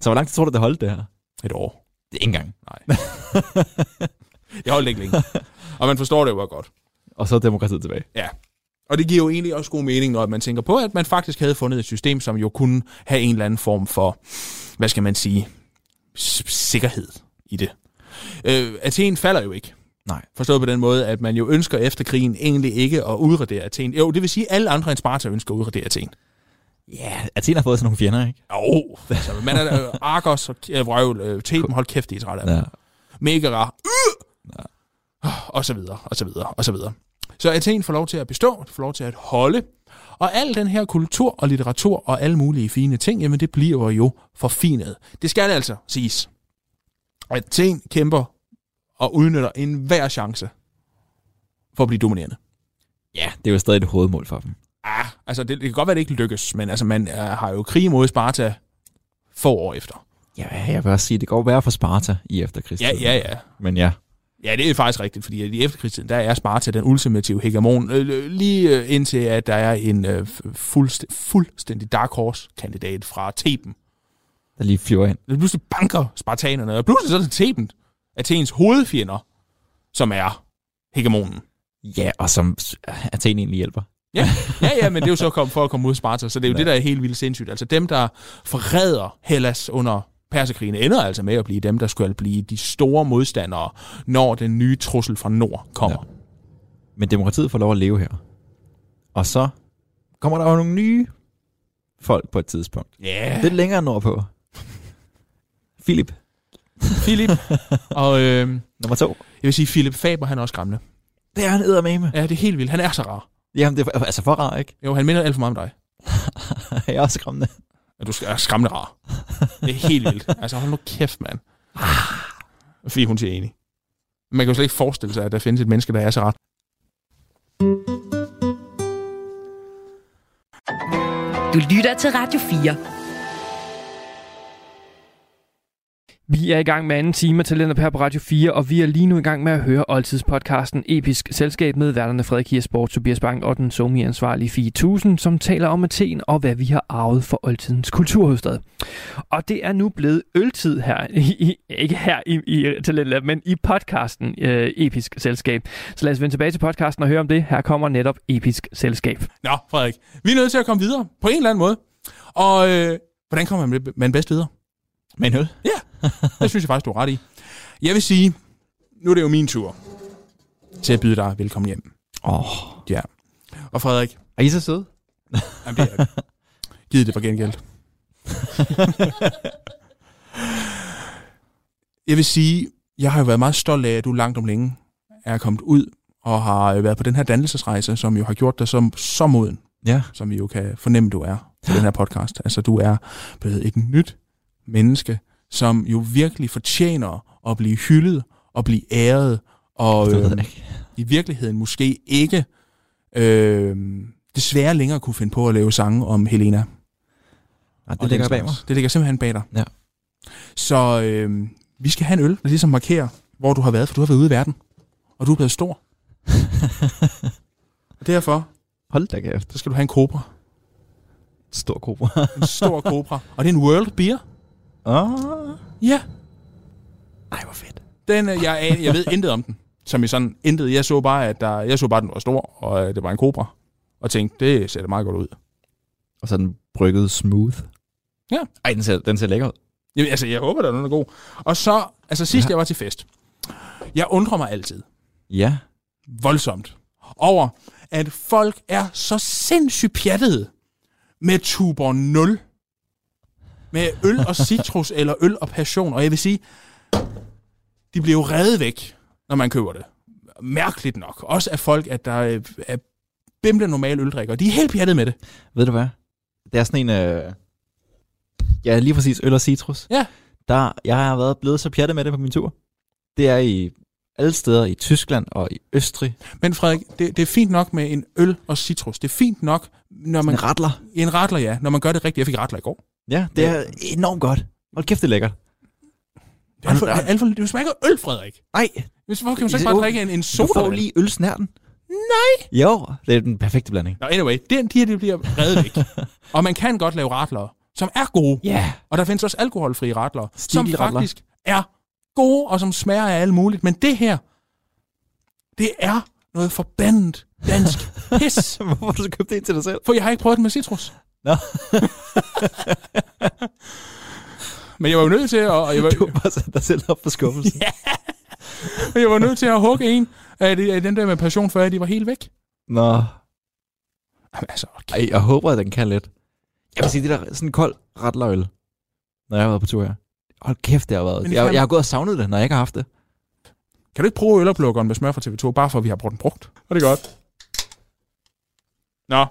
S5: så hvor lang tid tror du, det holdt det her?
S4: Et år.
S5: Det er ikke engang.
S4: Nej. Jeg holdt ikke længe. Og man forstår det jo bare godt.
S5: Og så er demokratiet tilbage.
S4: Og det giver jo egentlig også god mening, når man tænker på, at man faktisk havde fundet et system, som jo kunne have en eller anden form for, hvad skal man sige, s- sikkerhed i det. Øh, Athen falder jo ikke.
S5: Nej.
S4: Forstået på den måde, at man jo ønsker efter krigen egentlig ikke at udradere Athen. Jo, det vil sige, at alle andre end Sparta ønsker at udradere Athen.
S5: Ja, yeah, Athen har fået sådan nogle fjender, ikke?
S4: Jo, altså, man er øh, Argos og øh, Vrøvl, øh, Theben, hold kæft, de er trætte af dem.
S5: Ja.
S4: Megara, øh! og så videre, og så videre, og så videre. Så Athen får lov til at bestå, får lov til at holde, og al den her kultur og litteratur og alle mulige fine ting, jamen det bliver jo forfinet. Det skal altså siges. Athen kæmper og udnytter enhver chance for at blive dominerende.
S5: ja, det er jo stadig et hovedmål for dem.
S4: Ah, altså det, det kan godt være, det ikke lykkes, men altså man er, har jo krig mod Sparta få år efter.
S5: Ja, jeg vil også sige, det går værre for Sparta i efterkrigstiden.
S4: Ja, ja, ja.
S5: Men ja,
S4: Ja, det er faktisk rigtigt, fordi i efterkrigstiden, der er Sparta den ultimative hegemon, øh, lige øh, indtil at der er en øh, fuldst- fuldstændig Dark Horse-kandidat fra Theben.
S5: der lige flyver ind.
S4: Der pludselig banker spartanerne, og pludselig så er det Theben, Athens hovedfjender, som er hegemonen.
S5: Ja, og som s- Athen egentlig hjælper.
S4: Ja, ja, men det er jo så kom, for at komme mod Sparta, så det er jo ja. det, der er helt vildt sindssygt. Altså dem, der forræder Hellas under perserkrigene, ender altså med at blive dem, der skal blive de store modstandere, når den nye trussel fra nord kommer. Ja.
S5: Men demokratiet får lov at leve her. Og så kommer der jo nogle nye folk på et tidspunkt.
S4: Yeah.
S5: Lidt længere nordpå. Philip,
S4: Philip. [laughs] og øh,
S5: nummer to.
S4: jeg vil sige, Philip Faber, han er også skræmmende.
S5: Det er han eddermame.
S4: Ja, det er helt vildt. Han er så rar.
S5: Jamen, det er for- altså for rar, ikke? [laughs]
S4: Jo, han minder alt for meget om dig.
S5: Jeg er også skræmmende.
S4: Ja, du er skræmmende rar. Det er helt vildt. Altså, hold nu kæft, mand. Fordi hun siger enig. Man kan jo slet ikke forestille sig, at der findes et menneske, der er så rar.
S2: Du lytter til Radio 4.
S3: Vi er i gang med anden time af Talenter her på Radio 4, og vi er lige nu i gang med at høre oldtidspodcasten Episk Selskab med værterne Frederik Hirsborg, Tobias Bang og den somi-ansvarlige Fie Tusen, som taler om Athen og hvad vi har arvet for oldtidens kulturhovedstad. Og det er nu blevet øltid her, i, i- ikke her i, i Talentlab, men i podcasten øh, Episk Selskab. Så lad os vende tilbage til podcasten og høre om det. Her kommer netop Episk Selskab.
S4: Nå, Frederik. Vi er nødt til at komme videre på en eller anden måde. Og øh, hvordan kommer man, man bedst videre?
S5: Med en øl.
S4: Det synes jeg faktisk, du er ret i. Jeg vil sige, nu er det jo min tur til at byde dig velkommen hjem.
S5: Åh, oh,
S4: Og Frederik,
S5: er I så søde?
S4: Jamen, det er det. Giv det for gengæld. jeg vil sige, jeg har jo været meget stolt af, at du langt om længe er kommet ud og har været på den her dannelsesrejse, som jo har gjort dig som, så moden,
S5: Ja.
S4: som vi jo kan fornemme, du er på den her podcast. Altså, du er blevet et nyt menneske, som jo virkelig fortjener at blive hyldet og blive æret. Og,
S5: Det ved
S4: øh,
S5: jeg ikke.
S4: i virkeligheden måske ikke øh, desværre længere kunne finde på at lave sange om Helena.
S5: Nej,
S4: og
S5: det ligger
S4: den
S5: bag mig.
S4: slags. Det ligger simpelthen bag dig.
S5: Ja.
S4: Så øh, vi skal have en øl, der ligesom markerer, hvor du har været, for du har været ude i verden, og du er blevet
S5: [laughs]
S4: stor. og derfor,
S5: Hold da kæft.
S4: så skal du have en kobra.
S5: Stor kobra.
S4: En stor kobra. Og det er en world beer.
S5: ah.
S4: Ja.
S5: Ej, hvor fedt.
S4: Den, øh, jeg, an- jeg ved intet om den. Som i sådan intet. Jeg så bare, at der, jeg så bare, at den var stor, og øh, det var en kobra. Og tænkte, det ser da meget godt ud.
S5: Og så er den brygget smooth.
S4: Ja.
S5: Ej, den ser, den ser lækker ud.
S4: Jamen, altså, jeg håber, der er noget god. Og så, altså sidst ja. jeg var til fest, jeg undrer mig altid
S5: Ja.
S4: voldsomt over, at folk er så sindssygt pjattede med tuber 0. Med øl og citrus, eller øl og passion. Og jeg vil sige, de bliver jo reddet væk, når man køber det. Mærkeligt nok. Også af folk, at der øh, er bimle normale øldrikker. De er helt pjattede med det.
S5: Ved du hvad? Det er sådan en... Øh... Ja, lige præcis øl og citrus.
S4: Ja.
S5: Der, jeg har været blevet så pjattet med det på min tur. Det er i alle steder i Tyskland og i Østrig.
S4: Men Frederik, det, det er fint nok med en øl og citrus. Det er fint nok, når man
S5: Man ratler.
S4: En ratler, ja. Når man gør det rigtigt. Jeg fik ratler i går.
S5: Ja, det er enormt godt. Hold kæft, det er lækkert.
S4: Det er alt for, det er alt for, du smager ikke af øl, Frederik.
S5: Nej,
S4: Hvis, hvorfor kan man så ikke
S5: Jo,
S4: bare drikke en, en
S5: du
S4: soda?
S5: får lige ølsnærten.
S4: Nej!
S5: Jo, det er den perfekte blanding.
S4: Nå, anyway. Den, de her, de bliver reddet væk.
S5: [laughs]
S4: og man kan godt lave ratler, som er gode.
S5: Ja.
S4: Og der findes også alkoholfrie ratler, som
S5: Stilratler.
S4: faktisk er gode, og som smager af alt muligt. Men det her, Det er noget forbandet
S5: [laughs]
S4: dansk pis.
S5: Hvorfor har du [laughs] så købt en til dig selv?
S4: For jeg har ikke prøvet den med citrus.
S5: Nå.
S4: [laughs] Men jeg var jo nødt til at, og jeg var,
S5: Du har bare sat dig selv op for
S4: [laughs]
S5: skuffelsen. ja.
S4: jeg var nødt til at hugge en af, de, af den der med passion, før de var helt væk.
S5: Nå.
S4: Jamen, altså, okay.
S5: Ej, jeg håber, at den kan lidt. Jeg vil sige, det der sådan kold retlerøl, når jeg har været på tur her. Hold kæft, det har
S4: Men
S5: været. Jeg,
S4: det
S5: jeg,
S4: kan-
S5: har gået og savnet det, når jeg ikke har haft det.
S4: Kan du ikke bruge øloplukkeren med smør fra TV2, bare for at vi har brugt den brugt? Og det er godt. Nå.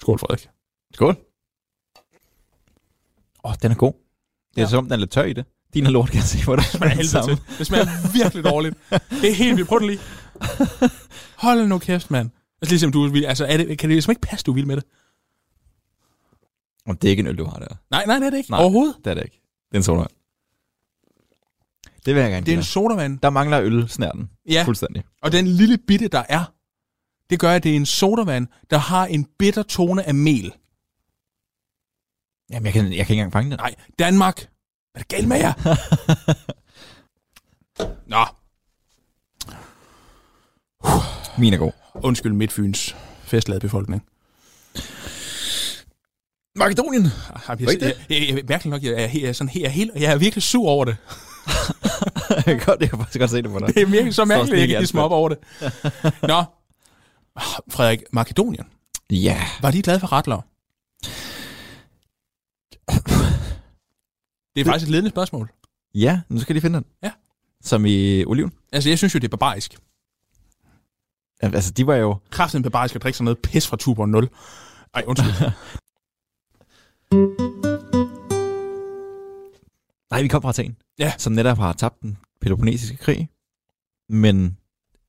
S4: Skål, Frederik.
S5: Skål. Åh, oh, den er god. Det er
S4: Ja.
S5: ja. som om, den er lidt tør i det. Din er lort, kan jeg se, [laughs] hvor det smager den samme.
S4: til. Det smager virkelig dårligt. Det er helt vildt. Prøv det lige. Hold nu kæft, mand. Altså, ligesom du er vild. Altså, er det, kan det ligesom ikke passe, du er vild med det?
S5: Om det er ikke en øl, du har der.
S4: Nej, nej, det er det ikke.
S5: Nej.
S4: Overhovedet.
S5: Det er det ikke. Det er en sodavand. Det vil jeg gerne
S4: Det er en
S5: give
S4: sodavand.
S5: dig. Der mangler ølsnærten.
S4: Ja,
S5: Fuldstændig.
S4: og den lille bitte, der er, det gør, at det er en sodavand, der har en bitter tone af mel.
S5: Jamen, jeg kan, jeg kan ikke engang fange den.
S4: Nej, Danmark. Hvad er det galt med jer? Nå,
S5: Min er god.
S4: undskyld Midtfyns festlade befolkning. Makedonien. Jeg, jeg, jeg, jeg, jeg, mærkeligt nok, jeg er, he- jeg, er sådan, he- jeg, er helt, jeg er virkelig sur over det. [laughs]
S5: jeg, kan [laughs] godt, jeg kan faktisk godt se det på dig.
S4: Det er virkelig så mærkeligt, at jeg
S5: snik i
S4: kan gisme op over det. Nå, Frederik, Makedonien.
S5: Ja.
S4: Var de glade for retler? Det er faktisk et ledende spørgsmål.
S5: Ja, nu skal de finde den.
S4: Ja.
S5: Som i oliven.
S4: Altså, jeg synes jo, det er barbarisk.
S5: Jamen, Altså, de var jo...
S4: Kraften barbarisk at drikke sådan noget pis fra Tuborg 0. Ej, undskyld.
S5: Nej, vi kom fra Athen.
S4: Ja.
S5: Som netop har tabt den peloponnesiske krig. Men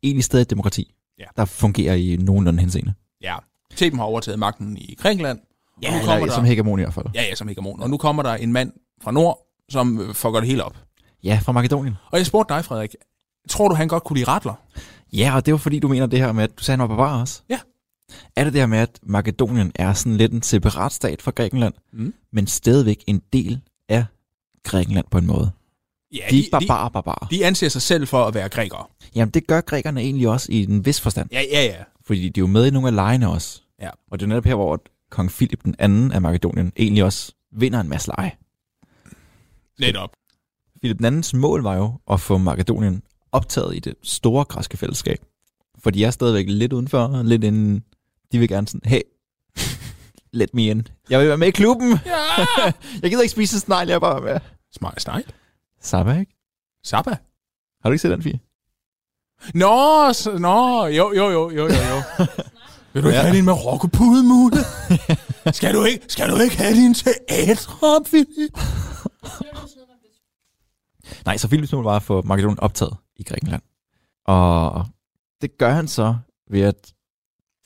S5: egentlig stadig et demokrati.
S4: Ja.
S5: Der fungerer i nogenlunde henseende.
S4: ja, Theben har overtaget magten i Grækenland. Ja, nu kommer
S5: Eller,
S4: der-
S5: som hegemon i hvert fald.
S4: Ja, ja, som hegemon. Og nu kommer der en mand fra Nord, som øh, fucker det hele op.
S5: Ja, fra Makedonien.
S4: Og jeg spurgte dig, Frederik, tror du, han godt kunne lide retler?
S5: Ja, og det var fordi, du mener det her med, at du sagde, han var barbar også.
S4: Ja.
S5: Er det det her med, at Makedonien er sådan lidt en separat stat fra Grækenland,
S4: Mm.
S5: men stadigvæk en del af Grækenland på en måde?
S4: Ja,
S5: De er ikke barbarer, barbarer.
S4: de anser sig selv for at være grækere.
S5: Jamen, det gør grækerne egentlig også i en vis forstand,
S4: Ja, ja, ja.
S5: fordi de er jo med i nogle af lejene også.
S4: Ja.
S5: Og det er netop her, hvor kong Philip den anden af Makedonien egentlig også vinder en masse leje.
S4: Netop.
S5: Philip den andens mål var jo at få Makedonien optaget i det store græske fællesskab. For de er stadigvæk lidt udenfor, lidt inden. De vil gerne sådan, hey, [laughs] let me in. Jeg vil være med i klubben.
S4: Ja!
S5: [laughs] Jeg gider ikke spise en snegl, jeg er bare med.
S4: Smart snegl.
S5: Zappa, ikke?
S4: Zappa.
S5: Har du ikke set den, Fie?
S4: Nå, s- nå, jo, jo, jo, jo, jo, [laughs] jo. Vil du ikke
S5: Ja.
S4: ja. have din marokkopude, [laughs] Mune? skal, du ikke, skal du ikke have din teater, Philip?
S5: Nej, så Philips mål var at få Makedonien optaget i Grækenland. Og det gør han så ved at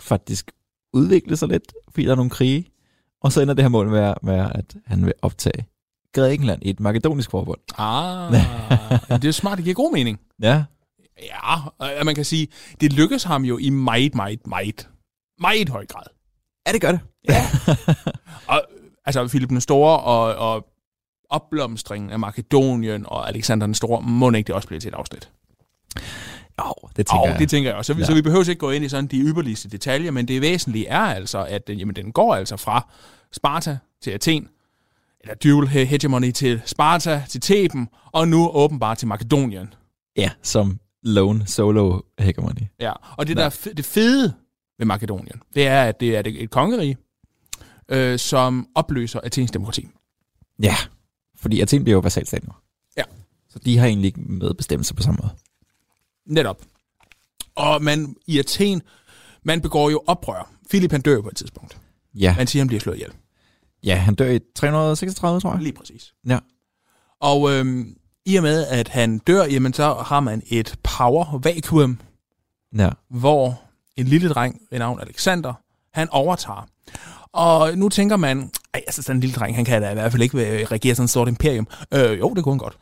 S5: faktisk udvikle sig lidt, fordi der er nogle krige. Og så ender det her mål med, med at han vil optage Grækenland i et makedonisk forbund.
S4: [laughs] Ah, det er smart, det giver god mening.
S5: Ja,
S4: Ja, og man kan sige, det lykkes ham jo i meget, meget, meget, meget høj grad.
S5: Ja, det gør det.
S4: Og, altså, Philip den Store og, og opblomstringen af Makedonien og Alexander den Store, må ikke det også blive til et afsnit?
S5: Jo, det tænker
S4: Og
S5: jeg.
S4: det tænker jeg også. Så, vi-
S5: Ja.
S4: så vi behøver ikke gå ind i sådan de ypperligste detaljer, men det væsentlige er altså, at øh, jamen, den går altså fra Sparta til Athen, eller dual he- hegemony til Sparta, til Theben, og nu åbenbart til Makedonien.
S5: Ja, som lone solo hegemoni.
S4: Ja, og det,
S5: Nå.
S4: der er fe- det fede ved Makedonien, det er, at det er et et kongerige, øh, som opløser Athens demokrati.
S5: Ja, fordi Athen bliver jo vasalstat nu.
S4: Ja.
S5: Så de har egentlig ikke medbestemmelse på samme måde.
S4: Netop. Og man i Athen, man begår jo oprør. Philip han dør jo på et tidspunkt.
S5: Ja,
S4: Man siger, han bliver slået ihjel.
S5: ja han dør i 336, tror jeg.
S4: Lige præcis.
S5: Ja.
S4: Og øhm, i og med, at han dør, jamen så har man et power vacuum,
S5: Ja.
S4: hvor en lille dreng ved navn Alexander, han overtager. Og nu tænker man, ej, altså sådan en lille dreng, han kan da i hvert fald ikke øh, regere sådan et stort imperium. Øh, jo, det kunne han
S5: [laughs]
S4: godt.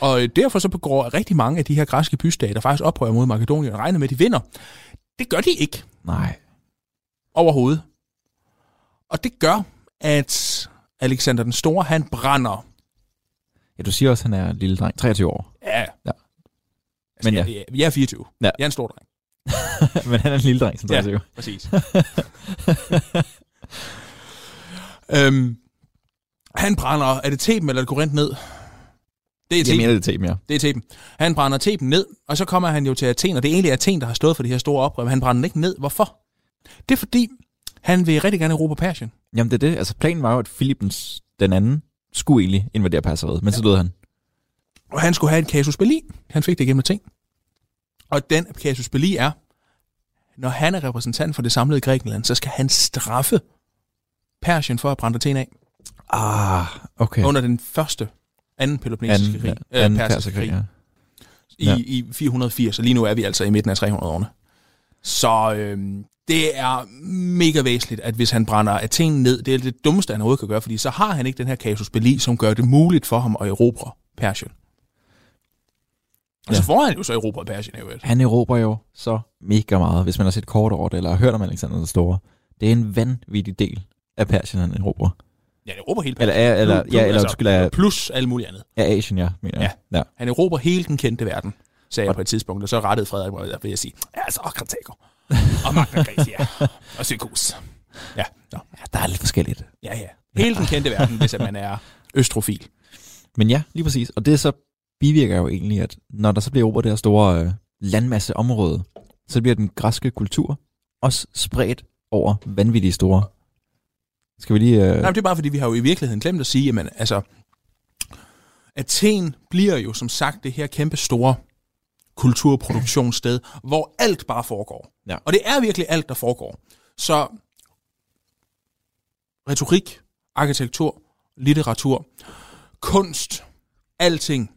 S4: og øh, derfor så begår rigtig mange af de her græske bystater faktisk oprør mod Makedonien og regner med, at de vinder. Det gør de ikke
S5: Nej.
S4: overhovedet. Og det gør, at Alexander den Store, han brænder
S5: Ja, du siger også, at han er en lille dreng. 23 år.
S4: Ja.
S5: Ja. Men ja.
S4: ja. Altså, Jeg, jeg er 24.
S5: Ja.
S4: Ja. Jeg er en stor dreng.
S5: [laughs] Men han er en lille dreng, som
S4: Ja.
S5: ja.
S4: Præcis. [laughs] øhm, han brænder, er det teben eller er det korint ned? Det er
S5: Jeg
S4: teben.
S5: mener det er teben, ja.
S4: Det er Teben. Han brænder Teben ned, og så kommer han jo til Athen, og det er egentlig Athen, der har stået for det her store oprør, men han brænder den ikke ned. Hvorfor? Det er fordi, han vil rigtig gerne erobre Persien.
S5: Jamen det er det. Altså planen var jo, at Philippens den anden skulle egentlig invadere Perseriet, men ja. så døde han.
S4: Og han skulle have en casus belli. Han fik det igennem Athen. Og den casus belli er, når han er repræsentant for det samlede Grækenland, så skal han straffe Persien for at brænde Athen af
S5: Ah, okay.
S4: ja. under den første anden peloponnesiske krig, ja. anden øh, persiske krig,
S5: ja.
S4: i,
S5: Ja.
S4: ja. i 480, og lige nu er vi altså i midten af 300-årene. Så øhm, det er mega væsentligt, at hvis han brænder Athen ned, det er det dummeste, han overhovedet kan gøre, fordi så har han ikke den her casus belli, som gør det muligt for ham at erobre Persien. Og
S5: Ja.
S4: så får han jo så erobret Persien, jo.
S5: Han erobrer jo så mega meget, hvis man har set kort over det, eller har hørt om Alexander den Store. Det er en vanvittig del af Persien, han erobrer.
S4: Ja, han erobrer hele Persien. altså,
S5: Eller, er- eller, ja, eller undskyld, af,
S4: plus alt muligt andet.
S5: af Asien, ja, mener jeg. Ja.
S4: Han erobrer hele den kendte verden, sagde jeg på et tidspunkt, og så rettede Frederik mig, vil jeg sige, altså, og Karthago, og Magna Graecia, [laughs] og Sykus. Ja, nå.
S5: ja. Der er lidt forskelligt.
S4: Ja, ja. Hele den kendte verden, hvis at man er østrofil.
S5: Men ja, lige præcis. Og det så bivirker jo egentlig, at når der så bliver erobret det her store øh, landmasseområde, så bliver den græske kultur også spredt over vanvittige store. Skal vi lige... Øh,
S4: Nej, men det er bare fordi, vi har jo i virkeligheden glemt at sige, jamen altså, Athen bliver jo som sagt det her kæmpe store kulturproduktionssted, hvor alt bare foregår.
S5: Ja.
S4: Og det er virkelig alt, der foregår. Så retorik, arkitektur, litteratur, kunst, alting,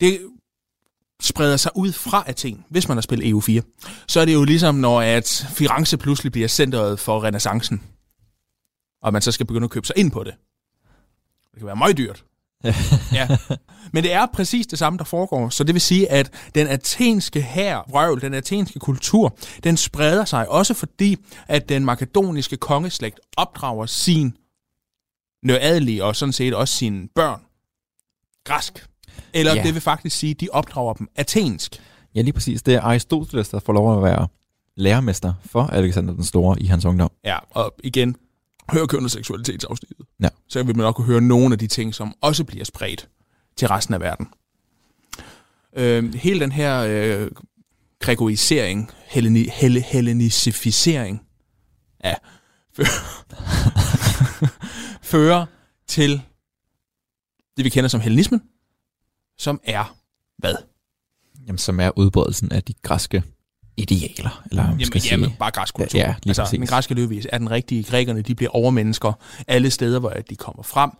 S4: det spreder sig ud fra Athen, hvis man har spillet EU4. Så er det jo ligesom, når at Firenze pludselig bliver centret for renaissancen. og man så skal begynde at købe sig ind på det. Det kan være meget dyrt. ja. Men det er præcis det samme, der foregår. Så det vil sige, at den athenske her, vrøvl, den athenske kultur, den spreder sig også fordi, at den makedoniske kongeslægt opdrager sin nøradelige og sådan set også sine børn græsk. Eller
S5: Ja.
S4: ja. det vil faktisk sige, at de opdrager dem athensk.
S5: Ja, lige præcis. Det er Aristoteles, der får lov at være lærermester for Alexander den Store i hans ungdom.
S4: Ja, og igen, hør køn og seksualitetsafsnittet.
S5: Ja.
S4: Så vil man nok kunne høre nogle af de ting, som også bliver spredt til resten af verden. Øh, hele den her øh, gregorisering, helleni, helle, hellenisificering, ja, [laughs] fører, fører til det, vi kender som hellenismen, som er hvad?
S5: Jamen, som er udbredelsen af de græske idealer, eller hvad man skal
S4: Jamen,
S5: sige.
S4: jamen, bare græsk kultur.
S5: Ja, ja, lige
S4: altså,
S5: præcis.
S4: den græske løvevis er den rigtige. Grækerne, de bliver overmennesker alle steder, hvor de kommer frem.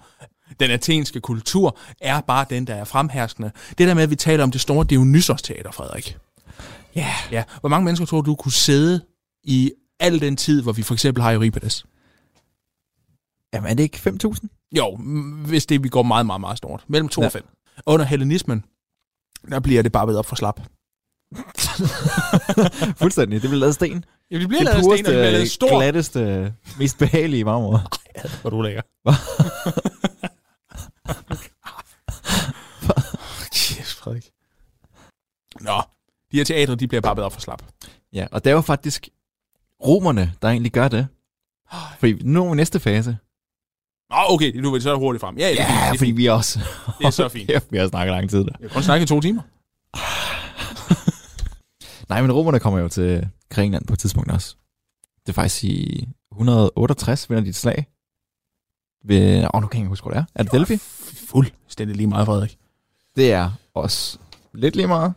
S4: Den athenske kultur er bare den, der er fremherskende. Det der med, at vi taler om det store Dionysos Teater, Frederik.
S5: Ja.
S4: Ja. Hvor mange mennesker tror du kunne sidde i al den tid, hvor vi for eksempel har Euripides?
S5: Jamen, er det ikke
S4: [laughs]
S5: 5.000?
S4: Jo, m- hvis det vi går meget, meget, meget stort. Mellem 2
S5: Ja.
S4: og 5. Under hellenismen, der bliver det bare ved op for slap.
S5: Fuldstændig. Det bliver lavet af sten.
S4: Ja, det
S5: det pureste,
S4: stort.
S5: glatteste, mest behagelige marmor.
S4: Hvor du lækker.
S5: Hva?
S4: Kæft, Frederik. Nå, de her teatre, de bliver bare bedre for slap.
S5: Ja, og det er jo faktisk romerne, der egentlig gør det. Fordi nu er vi i næste fase.
S4: Nå, okay, nu vil så hurtigt frem. Ja, det, er fint, det, er
S5: fordi
S4: fint.
S5: vi er også...
S4: det er så [laughs] fint.
S5: [laughs] Ja, vi har snakket lang tid der.
S4: Jeg har kun snakket i to timer.
S5: Nej, men romerne kommer jo til Grækenland på et tidspunkt også. Det er faktisk i 168, vinder de et slag. Ved, åh, nu kan jeg ikke huske, hvor det er. Er det Delphi?
S4: Fuldstændig lige meget, Frederik.
S5: Det er også lidt lige meget.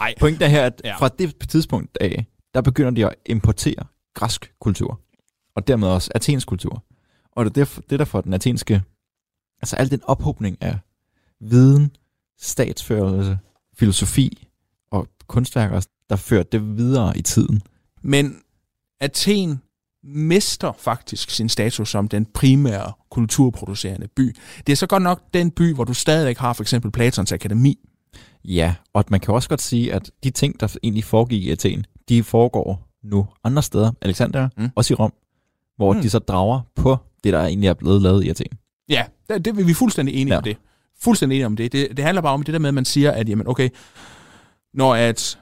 S4: Ej.
S5: Pointen er her, at ja.
S4: Ja.
S5: fra det tidspunkt af, der begynder de at importere græsk kultur, og dermed også athensk kultur. Og det er derfor, det er derfor den athenske, altså al den ophobning af viden, statsførelse, filosofi og kunstværker, der fører det videre i tiden.
S4: Men Athen mister faktisk sin status som den primære kulturproducerende by. Det er så godt nok den by, hvor du stadigvæk har for eksempel Platons Akademi.
S5: Ja, og at man kan også godt sige, at de ting, der egentlig foregik i Athen, de foregår nu andre steder, Alexander, mm.
S4: Mm.
S5: også i Rom, hvor mm.
S4: Mm.
S5: de så drager på det, der egentlig er blevet lavet i Athen.
S4: Ja, det, det vi er fuldstændig enige
S5: Ja.
S4: ja. om det. Fuldstændig enige om det. det. Det handler bare om det der med, at man siger, at jamen, okay, når at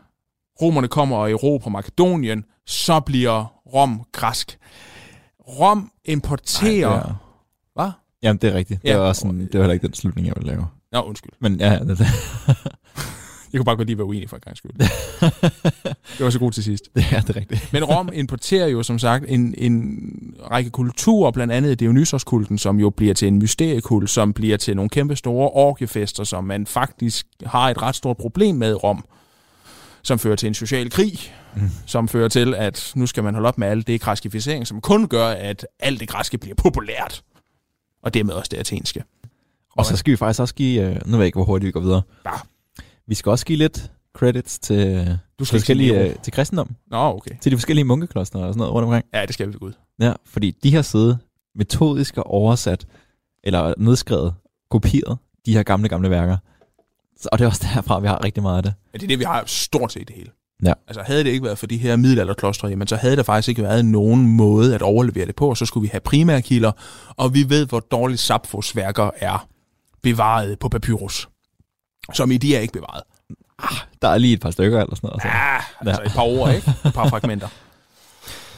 S4: romerne kommer og erobrer Makedonien, så bliver Rom græsk. Rom importerer... Ej,
S5: Ja.
S4: Hvad?
S5: Jamen, det er rigtigt. Det
S4: Ja.
S5: var, også sådan, det var heller ikke den slutning, jeg ville lave.
S4: Nå, undskyld.
S5: Men ja, ja, det, [laughs]
S4: Jeg kunne bare godt lige være uenig for en gang skyld. Det var så godt til sidst.
S5: det, ja, det er rigtigt.
S4: Men Rom importerer jo som sagt en, en række kulturer, blandt andet Dionysoskulten, som jo bliver til en mysteriekult, som bliver til nogle kæmpe store orkefester, som man faktisk har et ret stort problem med i Rom, som fører til en social krig, mm. som fører til, at nu skal man holde op med alt det græskificering, som kun gør, at alt det græske bliver populært. Og dermed også det athenske.
S5: Og så skal vi faktisk også give, øh, nu ved jeg ikke, hvor hurtigt vi går videre.
S4: Ja.
S5: Vi skal også give lidt credits til,
S4: Du skal ikke
S5: til,
S4: sige
S5: forskellige,
S4: Nero.
S5: øh, til kristendom,
S4: Nå, okay.
S5: til de forskellige munkekloster og sådan noget rundt omkring.
S4: Ja, det skal vi gå ud.
S5: Ja, fordi de har siddet metodisk og oversat, eller nedskrevet, kopieret de her gamle, gamle værker. Så, og det er også derfra, vi har rigtig meget af det.
S4: Ja, det er det, vi har stort set det hele.
S5: Ja.
S4: Altså havde det ikke været for de her middelalderklostre, jamen så havde der faktisk ikke været nogen måde at overlevere det på, og så skulle vi have primærkilder, og vi ved, hvor dårligt Sapfos værker er bevaret på papyrus. Som i de er ikke bevaret.
S5: Der er lige et par stykker eller sådan noget. Så.
S4: Ja, altså et par ord, ikke? Et par fragmenter.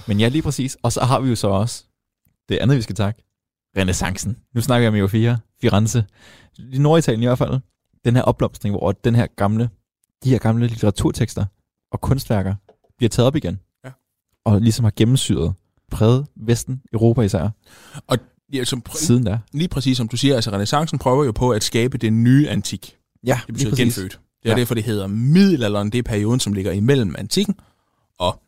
S5: Men ja, lige præcis. Og så har vi jo så også det andet, vi skal takke. Renaissancen. Nu snakker jeg om EU4, Firenze. I Norditalien i hvert fald. Den her opblomstring, hvor den her gamle, de her gamle litteraturtekster og kunstværker bliver taget op igen.
S4: Ja.
S5: Og ligesom har gennemsyret, præget Vesten, Europa især,
S4: Ja, som pr-
S5: siden der.
S4: lige præcis som du siger, altså renaissancen prøver jo på at skabe det nye antik.
S5: Ja,
S4: Det betyder genfødt. Det er
S5: Ja.
S4: ja. derfor, det hedder middelalderen. Det er perioden, som ligger imellem antikken og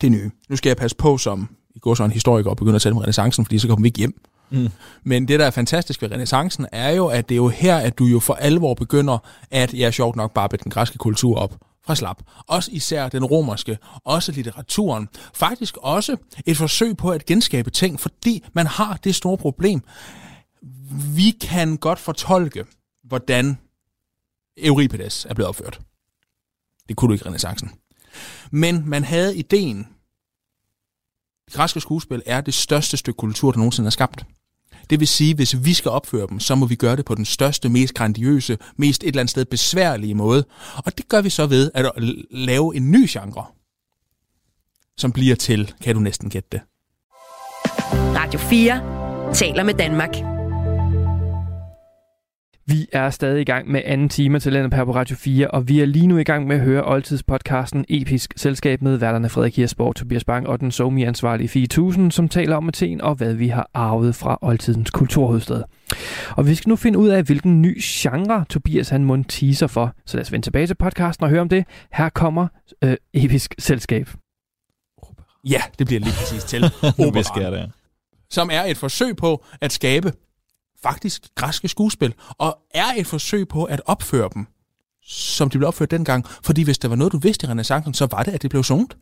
S4: det nye. Nu skal jeg passe på som i går så en historiker og begynde at tale om renaissancen, fordi så kommer vi ikke hjem.
S5: Mm.
S4: Men det, der er fantastisk ved renaissancen, er jo, at det er jo her, at du jo for alvor begynder at, ja, sjovt nok, bare bætte den græske kultur op fra slap. Også især den romerske, også litteraturen. Faktisk også et forsøg på at genskabe ting, fordi man har det store problem. Vi kan godt fortolke, hvordan Euripides er blevet opført. Det kunne du ikke i renaissancen. Men man havde ideen. Det græske skuespil er det største stykke kultur, der nogensinde er skabt. Det vil sige, hvis vi skal opføre dem, så må vi gøre det på den største, mest grandiøse, mest et eller andet sted besværlige måde. Og det gør vi så ved at l- lave en ny genre, som bliver til, kan du næsten gætte det.
S2: Radio 4 taler med Danmark.
S3: Vi er stadig i gang med anden time af Talentet her på Radio 4, og vi er lige nu i gang med at høre oldtidspodcasten Episk Selskab med værterne Frederik Hirsborg, Tobias Bang og den somi ansvarlige 4000, som taler om Athen og hvad vi har arvet fra oldtidens kulturhovedstad. Og vi skal nu finde ud af, hvilken ny genre Tobias han mund teaser for. Så lad os vende tilbage til podcasten og høre om det. Her kommer øh, Episk Selskab.
S4: Ja, det bliver lige præcis til.
S5: [laughs] Nu
S4: Operaen.
S5: visker jeg det.
S4: som er et forsøg på at skabe faktisk græske skuespil, og er et forsøg på at opføre dem, som de blev opført dengang. Fordi hvis der var noget, du vidste i renaissancen, så var det, at det blev sunget.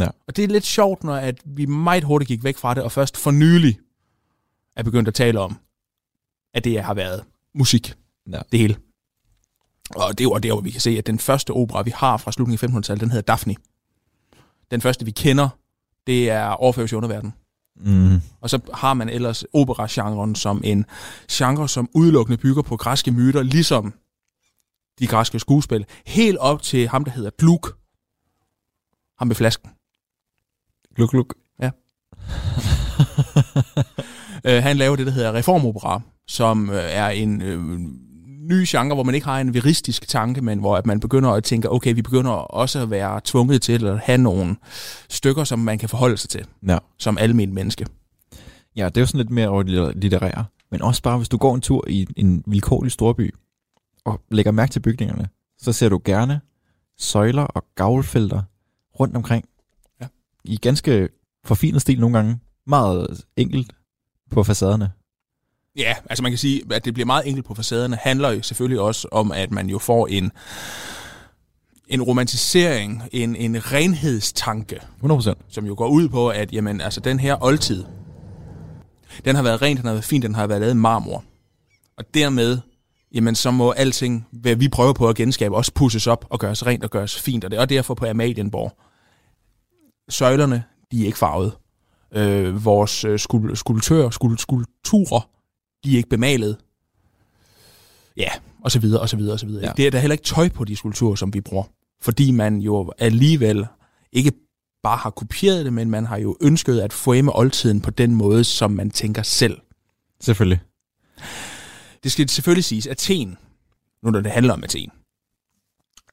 S5: Ja.
S4: Og det er lidt sjovt, når at vi meget hurtigt gik væk fra det, og først for nylig er begyndt at tale om, at det har været musik,
S5: Ja.
S4: det hele. Og det er jo der, hvor vi kan se, at den første opera, vi har fra slutningen af 1500-tallet, den hedder Daphne. Den første, vi kender, det er Orfeus i underverdenen.
S5: Mm.
S4: Og så har man ellers operagenren som en genre, som udelukkende bygger på græske myter, ligesom de græske skuespil, helt op til ham, der hedder Gluck. Ham med flasken.
S5: Gluk, gluk.
S4: [laughs] Øh, han laver det, der hedder reformopera, som øh, er en øh, ny genre, hvor man ikke har en veristisk tanke, men hvor at man begynder at tænke, okay, vi begynder også at være tvunget til at have nogle stykker, som man kan forholde sig til,
S5: Ja.
S4: som almen menneske.
S5: Ja, det er jo sådan lidt mere over det litter- litterære. Men også bare, hvis du går en tur i en vilkårlig storby og lægger mærke til bygningerne, så ser du gerne søjler og gavlfelter rundt omkring.
S4: Ja.
S5: I ganske forfinet stil nogle gange. Meget enkelt på facaderne.
S4: Ja, altså man kan sige, at det bliver meget enkelt på facaderne, handler jo selvfølgelig også om, at man jo får en, en romantisering, en, en renhedstanke,
S5: 100%.
S4: som jo går ud på, at jamen, altså, den her oldtid, den har været ren, den har været fin, den har været lavet i marmor. Og dermed, jamen, så må alting, hvad vi prøver på at genskabe, også pusses op og gøres rent og gøres fint. Og det er derfor på Amalienborg. Søjlerne, de er ikke farvet. Øh, vores øh, skul- skulptører, skul- skulpturer, de er ikke bemalet. Ja, og så videre, og så videre, og så videre.
S5: Ja.
S4: Ja. Det er der heller ikke tøj på de skulpturer, som vi bruger. fordi man jo alligevel ikke bare har kopieret det, men man har jo ønsket at frame oldtiden på den måde, som man tænker selv.
S5: Selvfølgelig.
S4: Det skal selvfølgelig siges, at Athen, nu når det handler om Athen,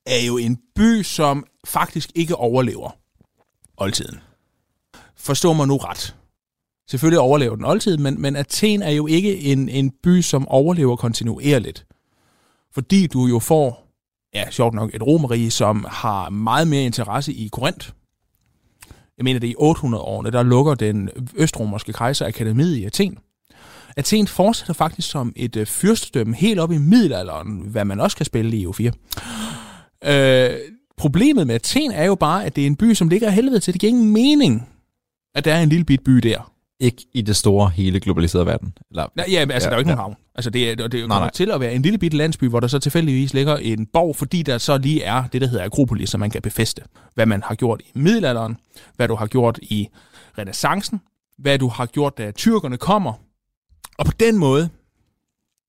S4: er jo en by, som faktisk ikke overlever oldtiden. Forstår man nu ret? Selvfølgelig overlever den oldtiden, men, men Athen er jo ikke en, en by, som overlever kontinuerligt. Fordi du jo får, ja, sjovt nok, et romerige, som har meget mere interesse i Korinth. Jeg mener, det er i 800-årene, der lukker den østromerske kejser akademiet i Athen. Athen fortsætter faktisk som et øh, fyrstedømme helt op i middelalderen, hvad man også kan spille i EU4. Øh, problemet med Athen er jo bare, at det er en by, som ligger af helvede til. Det giver ingen mening, at der er en lille bit by der.
S5: Ikke i det store, hele globaliserede verden. Eller,
S4: Nej, ja, men altså, ja, der
S5: Ja,
S4: er jo ikke
S5: ja.
S4: ja. nogen havn. Altså, det, er, det kommer
S5: nej.
S4: til at være en lille bit landsby, hvor der så tilfældigvis ligger en borg, fordi der så lige er det, der hedder akropolis, som man kan befeste. Hvad man har gjort i middelalderen, hvad du har gjort i renaissancen, hvad du har gjort, da tyrkerne kommer. Og på den måde,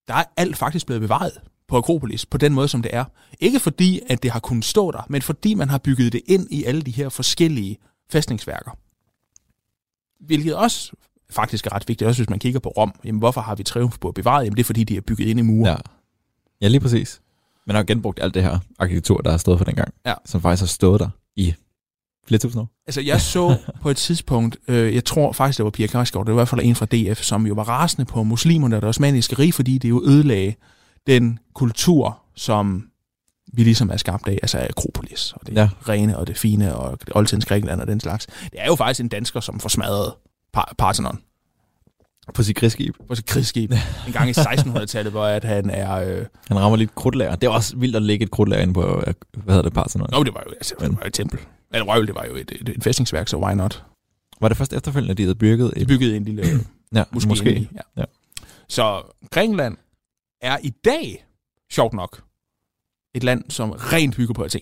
S4: der er alt faktisk blevet bevaret på Akropolis, på den måde, som det er. Ikke fordi, at det har kunnet stå der, men fordi man har bygget det ind i alle de her forskellige fæstningsværker. Hvilket også faktisk er ret vigtigt, også hvis man kigger på Rom. Jamen, hvorfor har vi triumfbåde bevaret? Jamen, det er fordi, de er bygget ind i mure.
S5: Ja. ja, lige præcis. Man har jo genbrugt alt det her arkitektur, der har stået for dengang.
S4: Ja.
S5: Som faktisk har stået der i flere tusind år.
S4: Altså, jeg så på et tidspunkt, øh, jeg tror faktisk, det var Pia Kærsgaard, det var i hvert fald en fra DF, som jo var rasende på muslimerne og det osmaniske rige, fordi det jo ødelagde den kultur, som vi ligesom er skabt af, altså Akropolis, og det
S5: Ja.
S4: ja. rene og det fine, og det oldtidens Grækenland og den slags. Det er jo faktisk en dansker, som forsmadrede Par- Parthenon
S5: På sit krigsskib.
S4: på sit krigsskib en gang i 1600-tallet, hvor at han er... Øh,
S5: Han rammer lidt krudtlager. Det er også vildt at lægge et krudtlager ind på, øh, hvad hedder det, Parthenon.
S4: Nå, det var jo, altså, det var jo et tempel. Eller Røvel, det var jo et, et, et fæstningsværk, så why not?
S5: Var det først efterfølgende, at de havde bygget
S4: De
S5: et...
S4: byggede en lille øh,
S5: ja,
S4: måske.
S5: måske.
S4: Ja.
S5: Ja.
S4: ja. Så Grækenland er i dag, sjovt nok, et land, som rent bygger på Athen.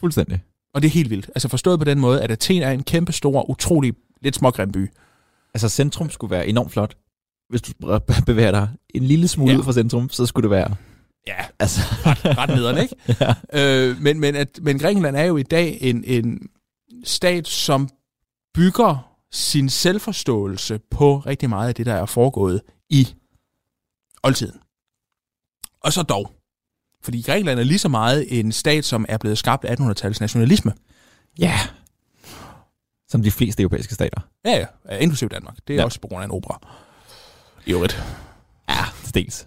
S5: Fuldstændig.
S4: Og det er helt vildt. Altså forstået på den måde, at Athen er en kæmpe stor, utrolig lidt smågrim by.
S5: Altså centrum skulle være enormt flot. Hvis du bre- bevæger dig en lille smule
S4: Ja.
S5: ud fra centrum, så skulle det være...
S4: Ja,
S5: Altså,
S4: ret nederen, ikke?
S5: [laughs] ja.
S4: Øh, men, men, at, men Grækenland er jo i dag en, en stat, som bygger sin selvforståelse på rigtig meget af det, der er foregået i oldtiden. Og så dog. Fordi Grækenland er lige så meget en stat, som er blevet skabt af 1800-tallets nationalisme.
S5: ja. Som de fleste europæiske stater.
S4: Ja, ja, inklusive Danmark. Det er
S5: Ja.
S4: ja. også på grund af en opera. I øvrigt.
S5: Ja, til dels.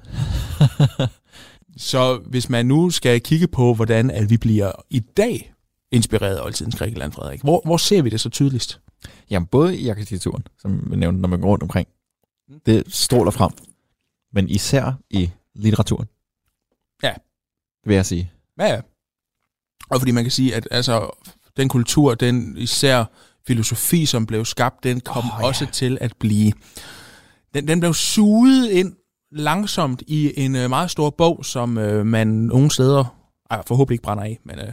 S4: Så hvis man nu skal kigge på, hvordan at vi bliver i dag inspireret af oldtidens Grækenland, Frederik, hvor, hvor ser vi det så tydeligst?
S5: Jamen, både i arkitekturen, som vi nævnte, når man går rundt omkring.
S4: Mm.
S5: Det stråler frem. Men især i litteraturen.
S4: Ja.
S5: Det vil jeg sige.
S4: Ja, ja. Og fordi man kan sige, at altså, den kultur, den især filosofi, som blev skabt, den kom
S5: Åh,
S4: oh,
S5: ja.
S4: også til at blive... Den, den blev suget ind langsomt i en øh, meget stor bog, som øh, man nogle steder... Ej, forhåbentlig ikke brænder af,
S5: [laughs]
S4: men øh,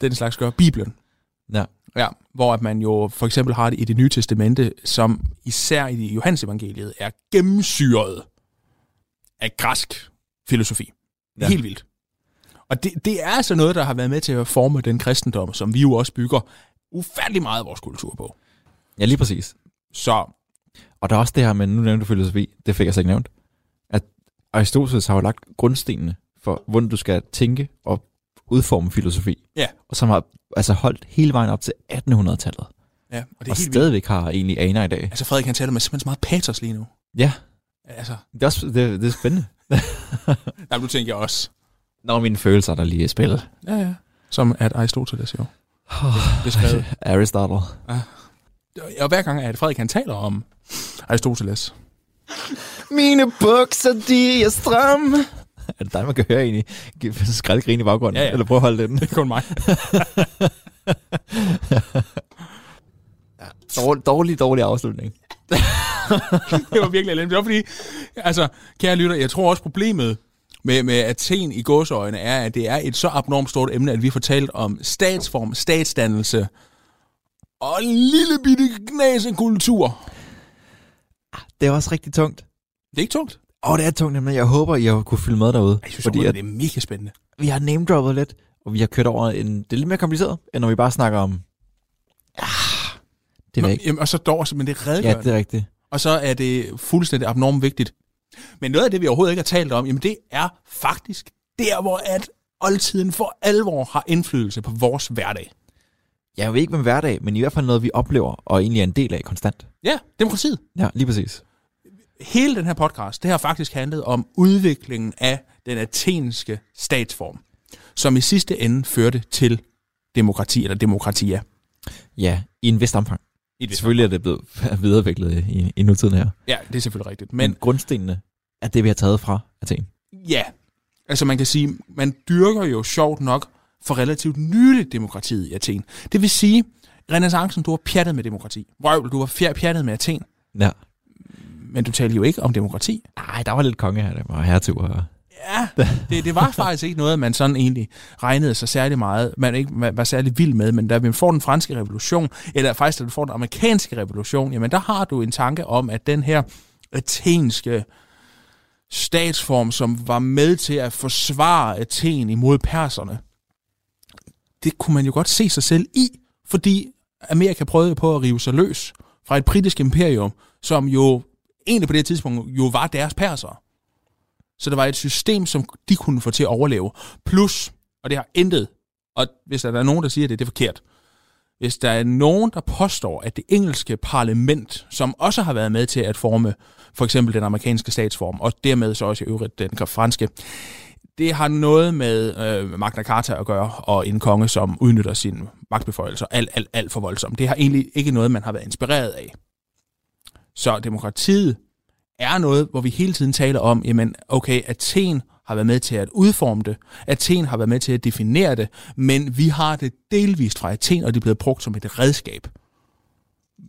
S4: den slags gør Bibelen.
S5: Ja.
S4: ja. Hvor at man jo for eksempel har det i det nye testamente, som især i Johannes evangeliet er gennemsyret af græsk filosofi.
S5: Ja.
S4: Ja. Helt vildt. Og det, det er altså noget, der har været med til at forme den kristendom, som vi jo også bygger ufattelig meget af vores kultur på.
S5: Ja, lige præcis.
S4: Så
S5: Og der er også det her med, nu nævnte du filosofi, det fik jeg så ikke nævnt, at Aristoteles har jo lagt grundstenene for, hvordan du skal tænke og udforme filosofi,
S4: ja,
S5: og som har altså holdt hele vejen op til 1800-tallet,
S4: ja og det er
S5: og
S4: og helt vildt.
S5: stadigvæk har egentlig aner i dag.
S4: Altså Frederik, han taler med simpelthen så meget patos lige nu.
S5: Ja,
S4: Altså,
S5: det er, også, det, det er spændende.
S4: nej, nu tænker jeg også.
S5: Når mine følelser der lige er i spil.
S4: Ja, ja. Som at Aristoteles jo. Det er skrevet.
S5: Øh, Aristotle.
S4: Og hver gang, at Frederik han taler om Aristoteles.
S5: Mine bukser, de er stram. Er det dig, man kan høre egentlig skraldgrine i baggrunden?
S4: Ja, ja.
S5: Eller prøv at holde den.
S4: Det er kun mig.
S5: [laughs] Dårlig, dårlig, dårlig afslutning.
S4: [laughs] det var virkelig elendigt. Det var fordi, altså, kære lytter, jeg tror også problemet med, med Athen i godsøjne er, at det er et så abnormt stort emne, at vi har talt om statsform, statsdannelse og en lille bitte knas af kultur.
S5: Det er også rigtig tungt.
S4: Det er ikke tungt.
S5: Åh, oh, det er tungt, men jeg håber, I har kunne fylde med derude.
S4: Jeg synes,
S5: fordi
S4: fordi,
S5: at
S4: det er mega spændende.
S5: vi har name-droppet lidt, hvor vi har kørt over en... Det er lidt mere kompliceret, end når vi bare snakker om... Ah, det
S4: Nå,
S5: er ikke.
S4: Jamen, og så dår, men det er
S5: Ja,
S4: redegørende.
S5: det er rigtigt.
S4: og så er det fuldstændig abnormt vigtigt. Men noget af det, vi overhovedet ikke har talt om, jamen det er faktisk der, hvor at oldtiden for alvor har indflydelse på vores hverdag.
S5: Jeg ved ikke med hverdag, men i hvert fald noget, vi oplever og egentlig er en del af konstant.
S4: Ja, demokratiet.
S5: Ja, lige præcis.
S4: Hele den her podcast, det har faktisk handlet om udviklingen af den athenske statsform, som i sidste ende førte til demokrati eller demokratier.
S5: Ja, i en vist omfang.
S4: I et vist
S5: Selvfølgelig er det blevet [laughs] videreudviklet i, i nutiden her.
S4: Ja, det er selvfølgelig rigtigt.
S5: Men,
S4: Men
S5: men grundstenene er det, vi har taget fra Athen.
S4: Ja, altså man kan sige, man dyrker jo sjovt nok for relativt nyligt demokratiet i Athen. Det vil sige, renaissancen, du var pjattet med demokrati. Røvl, du var fjer- pjattet med Athen,
S5: Ja.
S4: men du talte jo ikke om demokrati.
S5: Ej, der var lidt konge her, der var hertug og...
S4: Ja, det, det var faktisk ikke noget, man sådan egentlig regnede sig særlig meget, man ikke man var særlig vild med, men da vi får den franske revolution, eller faktisk da du får den amerikanske revolution, jamen der har du en tanke om, at den her athenske statsform, som var med til at forsvare Athen imod perserne, det kunne man jo godt se sig selv i, fordi Amerika prøvede på at rive sig løs fra et britisk imperium, som jo egentlig på det tidspunkt jo var deres persere. Så der var et system, som de kunne få til at overleve. Plus, og det har intet, og hvis der er nogen, der siger det, det er forkert. Hvis der er nogen, der påstår, at det engelske parlament, som også har været med til at forme for eksempel den amerikanske statsform, og dermed så også i øvrigt den franske, det har noget med øh, Magna Carta at gøre, og en konge, som udnytter sine magtbeføjelser alt, alt, alt for voldsomt. Det har egentlig ikke noget, man har været inspireret af. Så demokratiet er noget, hvor vi hele tiden taler om, jamen okay, Athen har været med til at udforme det, Athen har været med til at definere det, men vi har det delvist fra Athen, og det er blevet brugt som et redskab.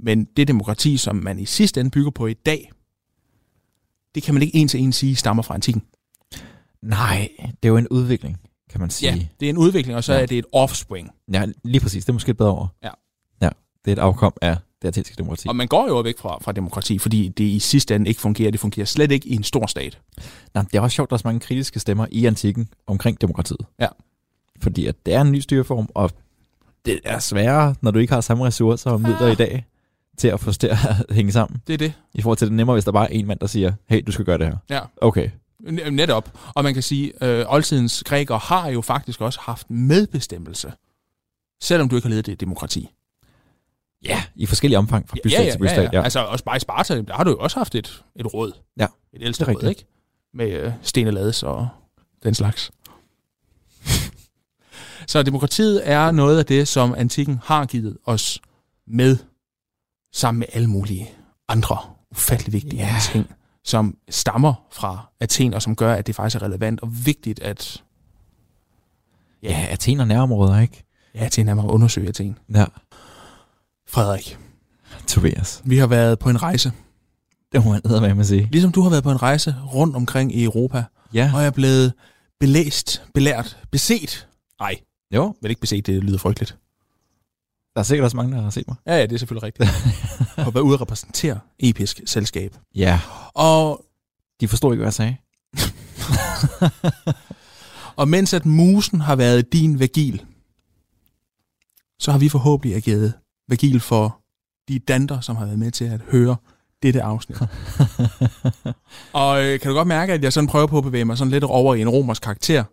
S4: Men det demokrati, som man i sidste ende bygger på i dag, det kan man ikke en til en sige stammer fra antikken.
S5: Nej, det er jo en udvikling, kan man sige.
S4: Ja, det er en udvikling, og så
S5: Ja.
S4: er det et offspring.
S5: Ja, lige præcis. Det er måske et bedre ord.
S4: Ja.
S5: Ja, det er et afkom af det athenske demokrati.
S4: Og man går jo væk fra, fra demokrati, fordi det i sidste ende ikke fungerer. Det fungerer slet ikke i en stor stat.
S5: Nej, det er også sjovt, at der er så mange kritiske stemmer i antikken omkring demokratiet.
S4: Ja.
S5: Fordi at det er en ny styreform, og det er sværere, når du ikke har samme ressourcer og midler i dag, til at få det til at [laughs] hænge sammen.
S4: Det er det.
S5: I forhold til det er nemmere, hvis der bare er en mand, der siger, hey, du skal gøre det her.
S4: Ja.
S5: Okay.
S4: N- Netop. Og man kan sige, øh, oldtidens grækere har jo faktisk også haft medbestemmelse, selvom du ikke har ledet et demokrati.
S5: Ja, i forskellige omfang fra bystat til bystat. Ja,
S4: Altså også bare i Sparta, der har du jo også haft et, et råd.
S5: Ja,
S4: Et ældste
S5: det er
S4: råd, ikke? Med øh, Stene Lades og den slags. [laughs] Så demokratiet er noget af det, som antikken har givet os med, sammen med alle mulige andre ufattelig vigtige
S5: Ja.
S4: ting, som stammer fra Athen, og som gør, at det faktisk er relevant og vigtigt, at
S5: ja Athen og nærområder, ikke?
S4: ja, Athen er med at undersøge Athen.
S5: Ja,
S4: Frederik,
S5: Tobias.
S4: vi har været på en rejse,
S5: Det må man med at sige.
S4: ligesom du har været på en rejse rundt omkring i Europa,
S5: Ja.
S4: og jeg er blevet belæst, belært, beset. Nej,
S5: Jo,
S4: vel ikke beset, det lyder frygteligt.
S5: der er sikkert også mange, der har set mig.
S4: Ja, ja, det er selvfølgelig [laughs] rigtigt. og været ude at repræsentere episk selskab.
S5: Ja.
S4: Og,
S5: De forstod ikke, hvad jeg sagde.
S4: og mens at musen har været din vagil, så har vi forhåbentlig ageret vagil for de danter, som har været med til at høre dette [laughs] afsnit. og øh, kan du godt mærke, at jeg sådan prøver på at bevæge mig sådan lidt over i en romers karakter?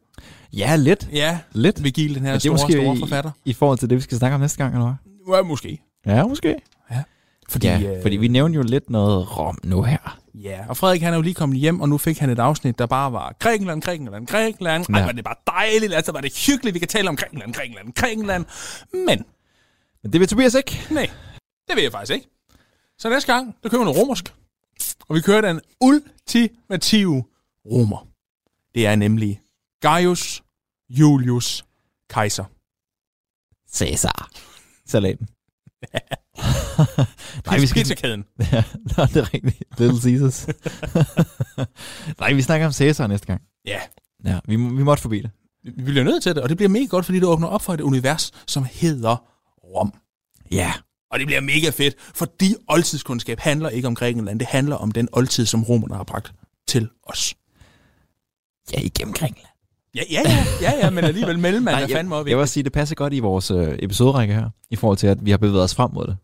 S5: ja, lidt.
S4: Ja,
S5: Lidt.
S4: Vigil, den her
S5: Men det er
S4: store,
S5: måske
S4: store
S5: i-
S4: forfatter.
S5: I forhold til det, vi skal snakke om næste gang, eller hvad?
S4: Ja, måske.
S5: Ja, måske.
S4: Fordi,
S5: Fordi, ja, øh... fordi vi nævnte jo lidt noget Rom nu her.
S4: Ja, og Frederik han er jo lige kommet hjem, og nu fik han et afsnit, der bare var Grækenland, Grækenland, Grækenland. Ej,
S5: Ja.
S4: var det bare dejligt, altså var det hyggeligt, vi kan tale om Grækenland, Grækenland, Grækenland. Men,
S5: Men det vil Tobias ikke.
S4: nej, det vil jeg faktisk ikke. Så næste gang, der køber vi noget romersk, og vi kører den ultimative romer. Det er nemlig Gaius Julius Kaiser.
S5: Cæsar. [laughs] Salaten. Nej, vi
S4: Pizza-
S5: skal...
S4: Pizzakæden.
S5: [laughs] Ja, nå, det er rigtigt. Little [laughs] Caesars. Nej, vi snakker om Cæsar næste gang.
S4: Ja,
S5: Ja, vi, må- vi måtte forbi det.
S4: vi bliver nødt til det, og det bliver mega godt, fordi det åbner op for et univers, som hedder Rom.
S5: Ja.
S4: Og det bliver mega fedt, fordi oldtidskundskab handler ikke om Grækenland, det handler om den oldtid, som romerne har bragt til os.
S5: Ja, igennem Grækenland.
S4: Ja, ja, ja, ja, ja men alligevel mellemmand er
S5: jeg,
S4: fandme op.
S5: jeg vil også sige, det passer godt i vores øh, episoderække her, i forhold til, at vi har bevæget os frem mod det.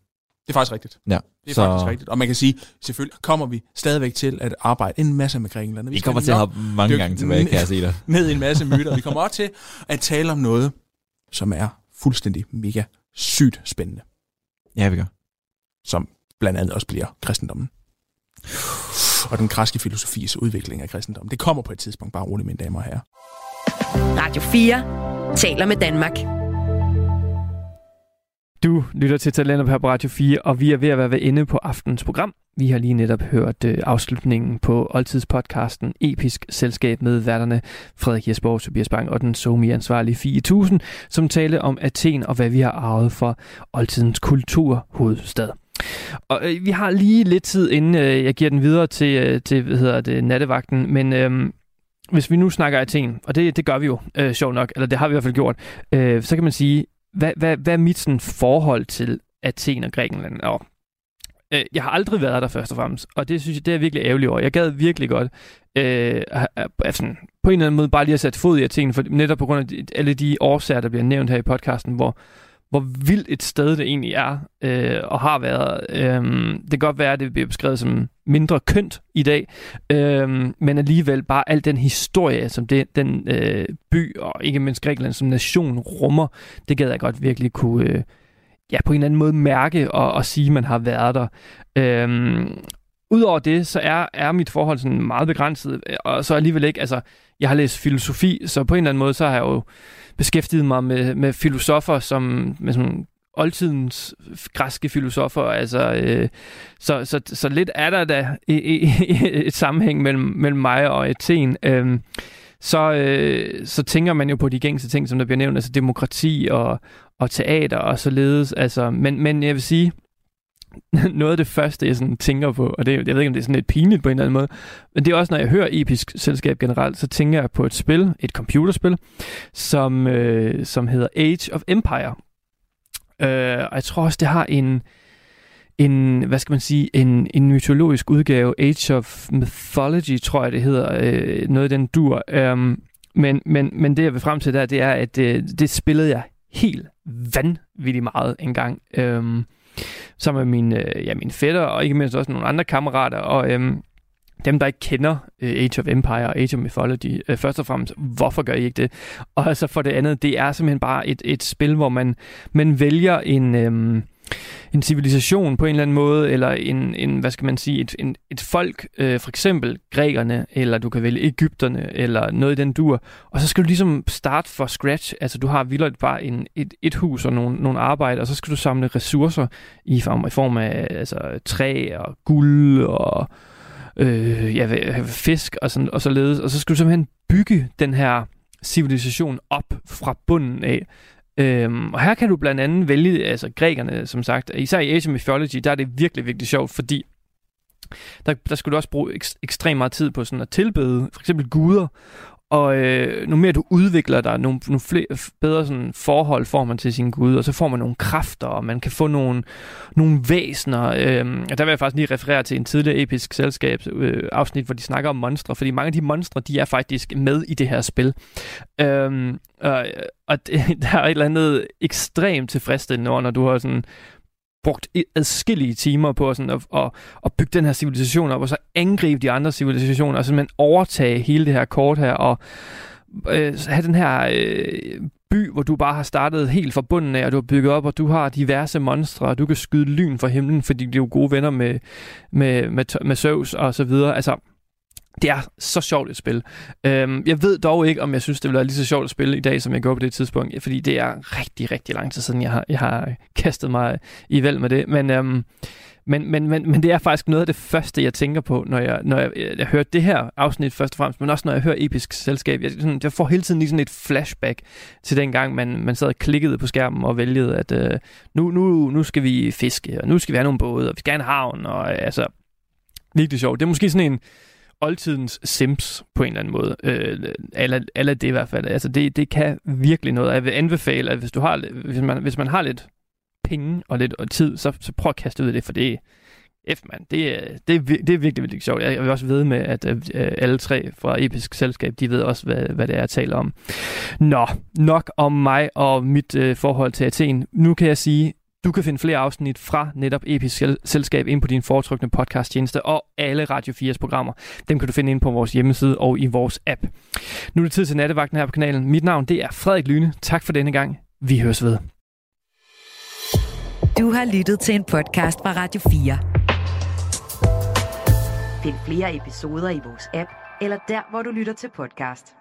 S4: Det er faktisk rigtigt.
S5: Ja.
S4: Det er så... faktisk rigtigt. Og man kan sige, selvfølgelig kommer vi stadigvæk til at arbejde en masse med Grækenland. og
S5: Vi
S4: skal
S5: kommer til at
S4: nok
S5: hoppe mange
S4: dykke
S5: gange tilbage, kan jeg se dig.
S4: ned i en masse myter. Vi kommer også til at tale om noget, som er fuldstændig mega sygt spændende.
S5: Ja, vi gør.
S4: Som blandt andet også bliver kristendommen. Og den græske filosofis udvikling af kristendommen. Det kommer på et tidspunkt, bare roligt, mine damer og herrer.
S2: Radio 4 taler med Danmark.
S3: Du lytter til Talenter her på Radio 4, og vi er ved at være inde på aftens program. Vi har lige netop hørt øh, afslutningen på oldtidspodcasten Episk Selskab med værterne Frederik Jesborg, Tobias Bang og den somi-ansvarlige Fie 1000, som talte om Athen og hvad vi har arvet fra oldtidens kulturhovedstad. Og øh, vi har lige lidt tid, inden øh, jeg giver den videre til, øh, til hvad hedder det, nattevagten, men øh, hvis vi nu snakker Athen, og det, det gør vi jo, øh, sjovt nok, eller det har vi i hvert fald gjort, øh, så kan man sige, hvad, hvad, hvad er mit sådan, forhold til Athen og Grækenland? Og, øh, jeg har aldrig været der først og fremmest, og det synes jeg, det er jeg virkelig ærgerlig over. Jeg gad virkelig godt, øh, at- at- at sådan, på en eller anden måde bare lige at sætte fod i Athen, for netop på grund af de, alle de årsager, der bliver nævnt her i podcasten, hvor hvor vildt et sted det egentlig er, øh, og har været. Øh, det kan godt være, at det bliver beskrevet som mindre kønt i dag, Øhm, men alligevel bare al den historie, som det, den øh, by, og ikke mindst Grækenland som nation, rummer, det gad jeg godt virkelig kunne øh, ja, på en eller anden måde mærke og, og sige, man har været der. Øhm, Udover det, så er, er mit forhold sådan meget begrænset, øh, og så alligevel ikke, altså, jeg har læst filosofi, så på en eller anden måde, så har jeg jo beskæftiget mig med, med filosofer, som med sådan oldtidens græske filosofer, altså øh, så, så, så lidt er der da i- i- i- et sammenhæng mellem, mellem mig og Athen. Øhm, så, øh, så tænker man jo på de gængse ting, som der bliver nævnt, altså demokrati og, og teater og således. Altså, men, men jeg vil sige, [laughs] noget af det første, jeg sådan tænker på, og det, jeg ved ikke, om det er sådan lidt pinligt på en eller anden måde, men det er også, når jeg hører episk selskab generelt, så tænker jeg på et spil, et computerspil, som, øh, som hedder Age of Empire. Øh, og jeg tror også, det har en, en, hvad skal man sige, en, en mytologisk udgave, Age of Mythology, tror jeg det hedder, øh, noget i den dur. Øhm, men, men, men det, jeg vil frem til der, det er, at øh, det spillede jeg helt vanvittigt meget engang. Øhm, sammen med mine, øh, ja, mine fætter, og ikke mindst også nogle andre kammerater, og øhm, dem, der ikke kender øh, Age of Empire og Age of Mythology, øh, først og fremmest, hvorfor gør I ikke det? Og så for det andet, det er simpelthen bare et, et spil, hvor man, man vælger en... Øhm, en civilisation på en eller anden måde, eller en, en hvad skal man sige, et, en, et folk, øh, for eksempel grækerne, eller du kan vælge Ægypterne, eller noget i den dur, og så skal du ligesom starte fra scratch, altså du har vildt bare en, et, et hus og nogle, nogle arbejde, og så skal du samle ressourcer i form, i form af altså, træ og guld og øh, ja, hvad- fisk og, sådan, og således, og så skal du simpelthen bygge den her civilisation op fra bunden af, Øhm, og her kan du blandt andet vælge, altså grækerne som sagt, især i Asian Mythology, der er det virkelig, virkelig sjovt, fordi der, der skal du også bruge ek- ekstremt meget tid på sådan at tilbede for eksempel guder, og øh, nu mere du udvikler dig, nogle, nogle flere, bedre sådan, forhold får man til sin gud, og så får man nogle kræfter, og man kan få nogle, nogle væsener. Øh, og der vil jeg faktisk lige referere til en tidligere episk selskabs øh, afsnit, hvor de snakker om monstre, fordi mange af de monstre, de er faktisk med i det her spil. Øh, og, og det, [laughs] der er et eller andet ekstremt tilfredsstillende over, når du har sådan brugt i- adskillige timer på sådan at, at, at bygge den her civilisation op, og så angribe de andre civilisationer, og simpelthen overtage hele det her kort her, og øh, have den her øh, by, hvor du bare har startet helt fra bunden af, og du har bygget op, og du har diverse monstre, og du kan skyde lyn fra himlen, fordi de er jo gode venner med, med, med, med Zeus og så videre. Altså, det er så sjovt et spil. Øhm, jeg ved dog ikke, om jeg synes, det ville være lige så sjovt at spille i dag, som jeg gjorde på det tidspunkt, fordi det er rigtig, rigtig lang tid siden, jeg har, jeg har kastet mig i væld med det. Men, øhm, men, men, men, men det er faktisk noget af det første, jeg tænker på, når jeg, når jeg, jeg, jeg hører det her afsnit først og fremmest, men også når jeg hører Episk Selskab. Jeg, sådan, jeg får hele tiden lige sådan et flashback til dengang, man, man sad og klikkede på skærmen og vælgede, at øh, nu, nu, nu skal vi fiske, og nu skal vi have nogle både, og vi skal have en havn, og øh, altså, virkelig sjovt. Det er måske sådan en oldtidens Sims på en eller anden måde. Øh, eller, eller det i hvert fald. Altså det, det kan virkelig noget. Og Jeg vil anbefale, at hvis, du har, hvis, man, hvis man har lidt penge og lidt og tid, så, så prøv at kaste ud i det, for det F, mand. Det, er- det, er, vir- det er virkelig, virkelig sjovt. Jeg jeg vil også ved med, at øh, alle tre fra Episk Selskab, de ved også, hvad, hvad det er, jeg taler om. Nå, nok om mig og mit øh, forhold til Athen. Nu kan jeg sige, du kan finde flere afsnit fra netop Episk Sel- Selskab ind på din foretrukne podcasttjeneste og alle Radio 4's programmer. Dem kan du finde ind på vores hjemmeside og i vores app. Nu er det tid til nattevagten her på kanalen. Mit navn det er Frederik Lyne. Tak for denne gang. Vi høres ved.
S2: Du har lyttet til en podcast fra Radio 4.
S6: Find flere episoder i vores app, eller der, hvor du lytter til podcast.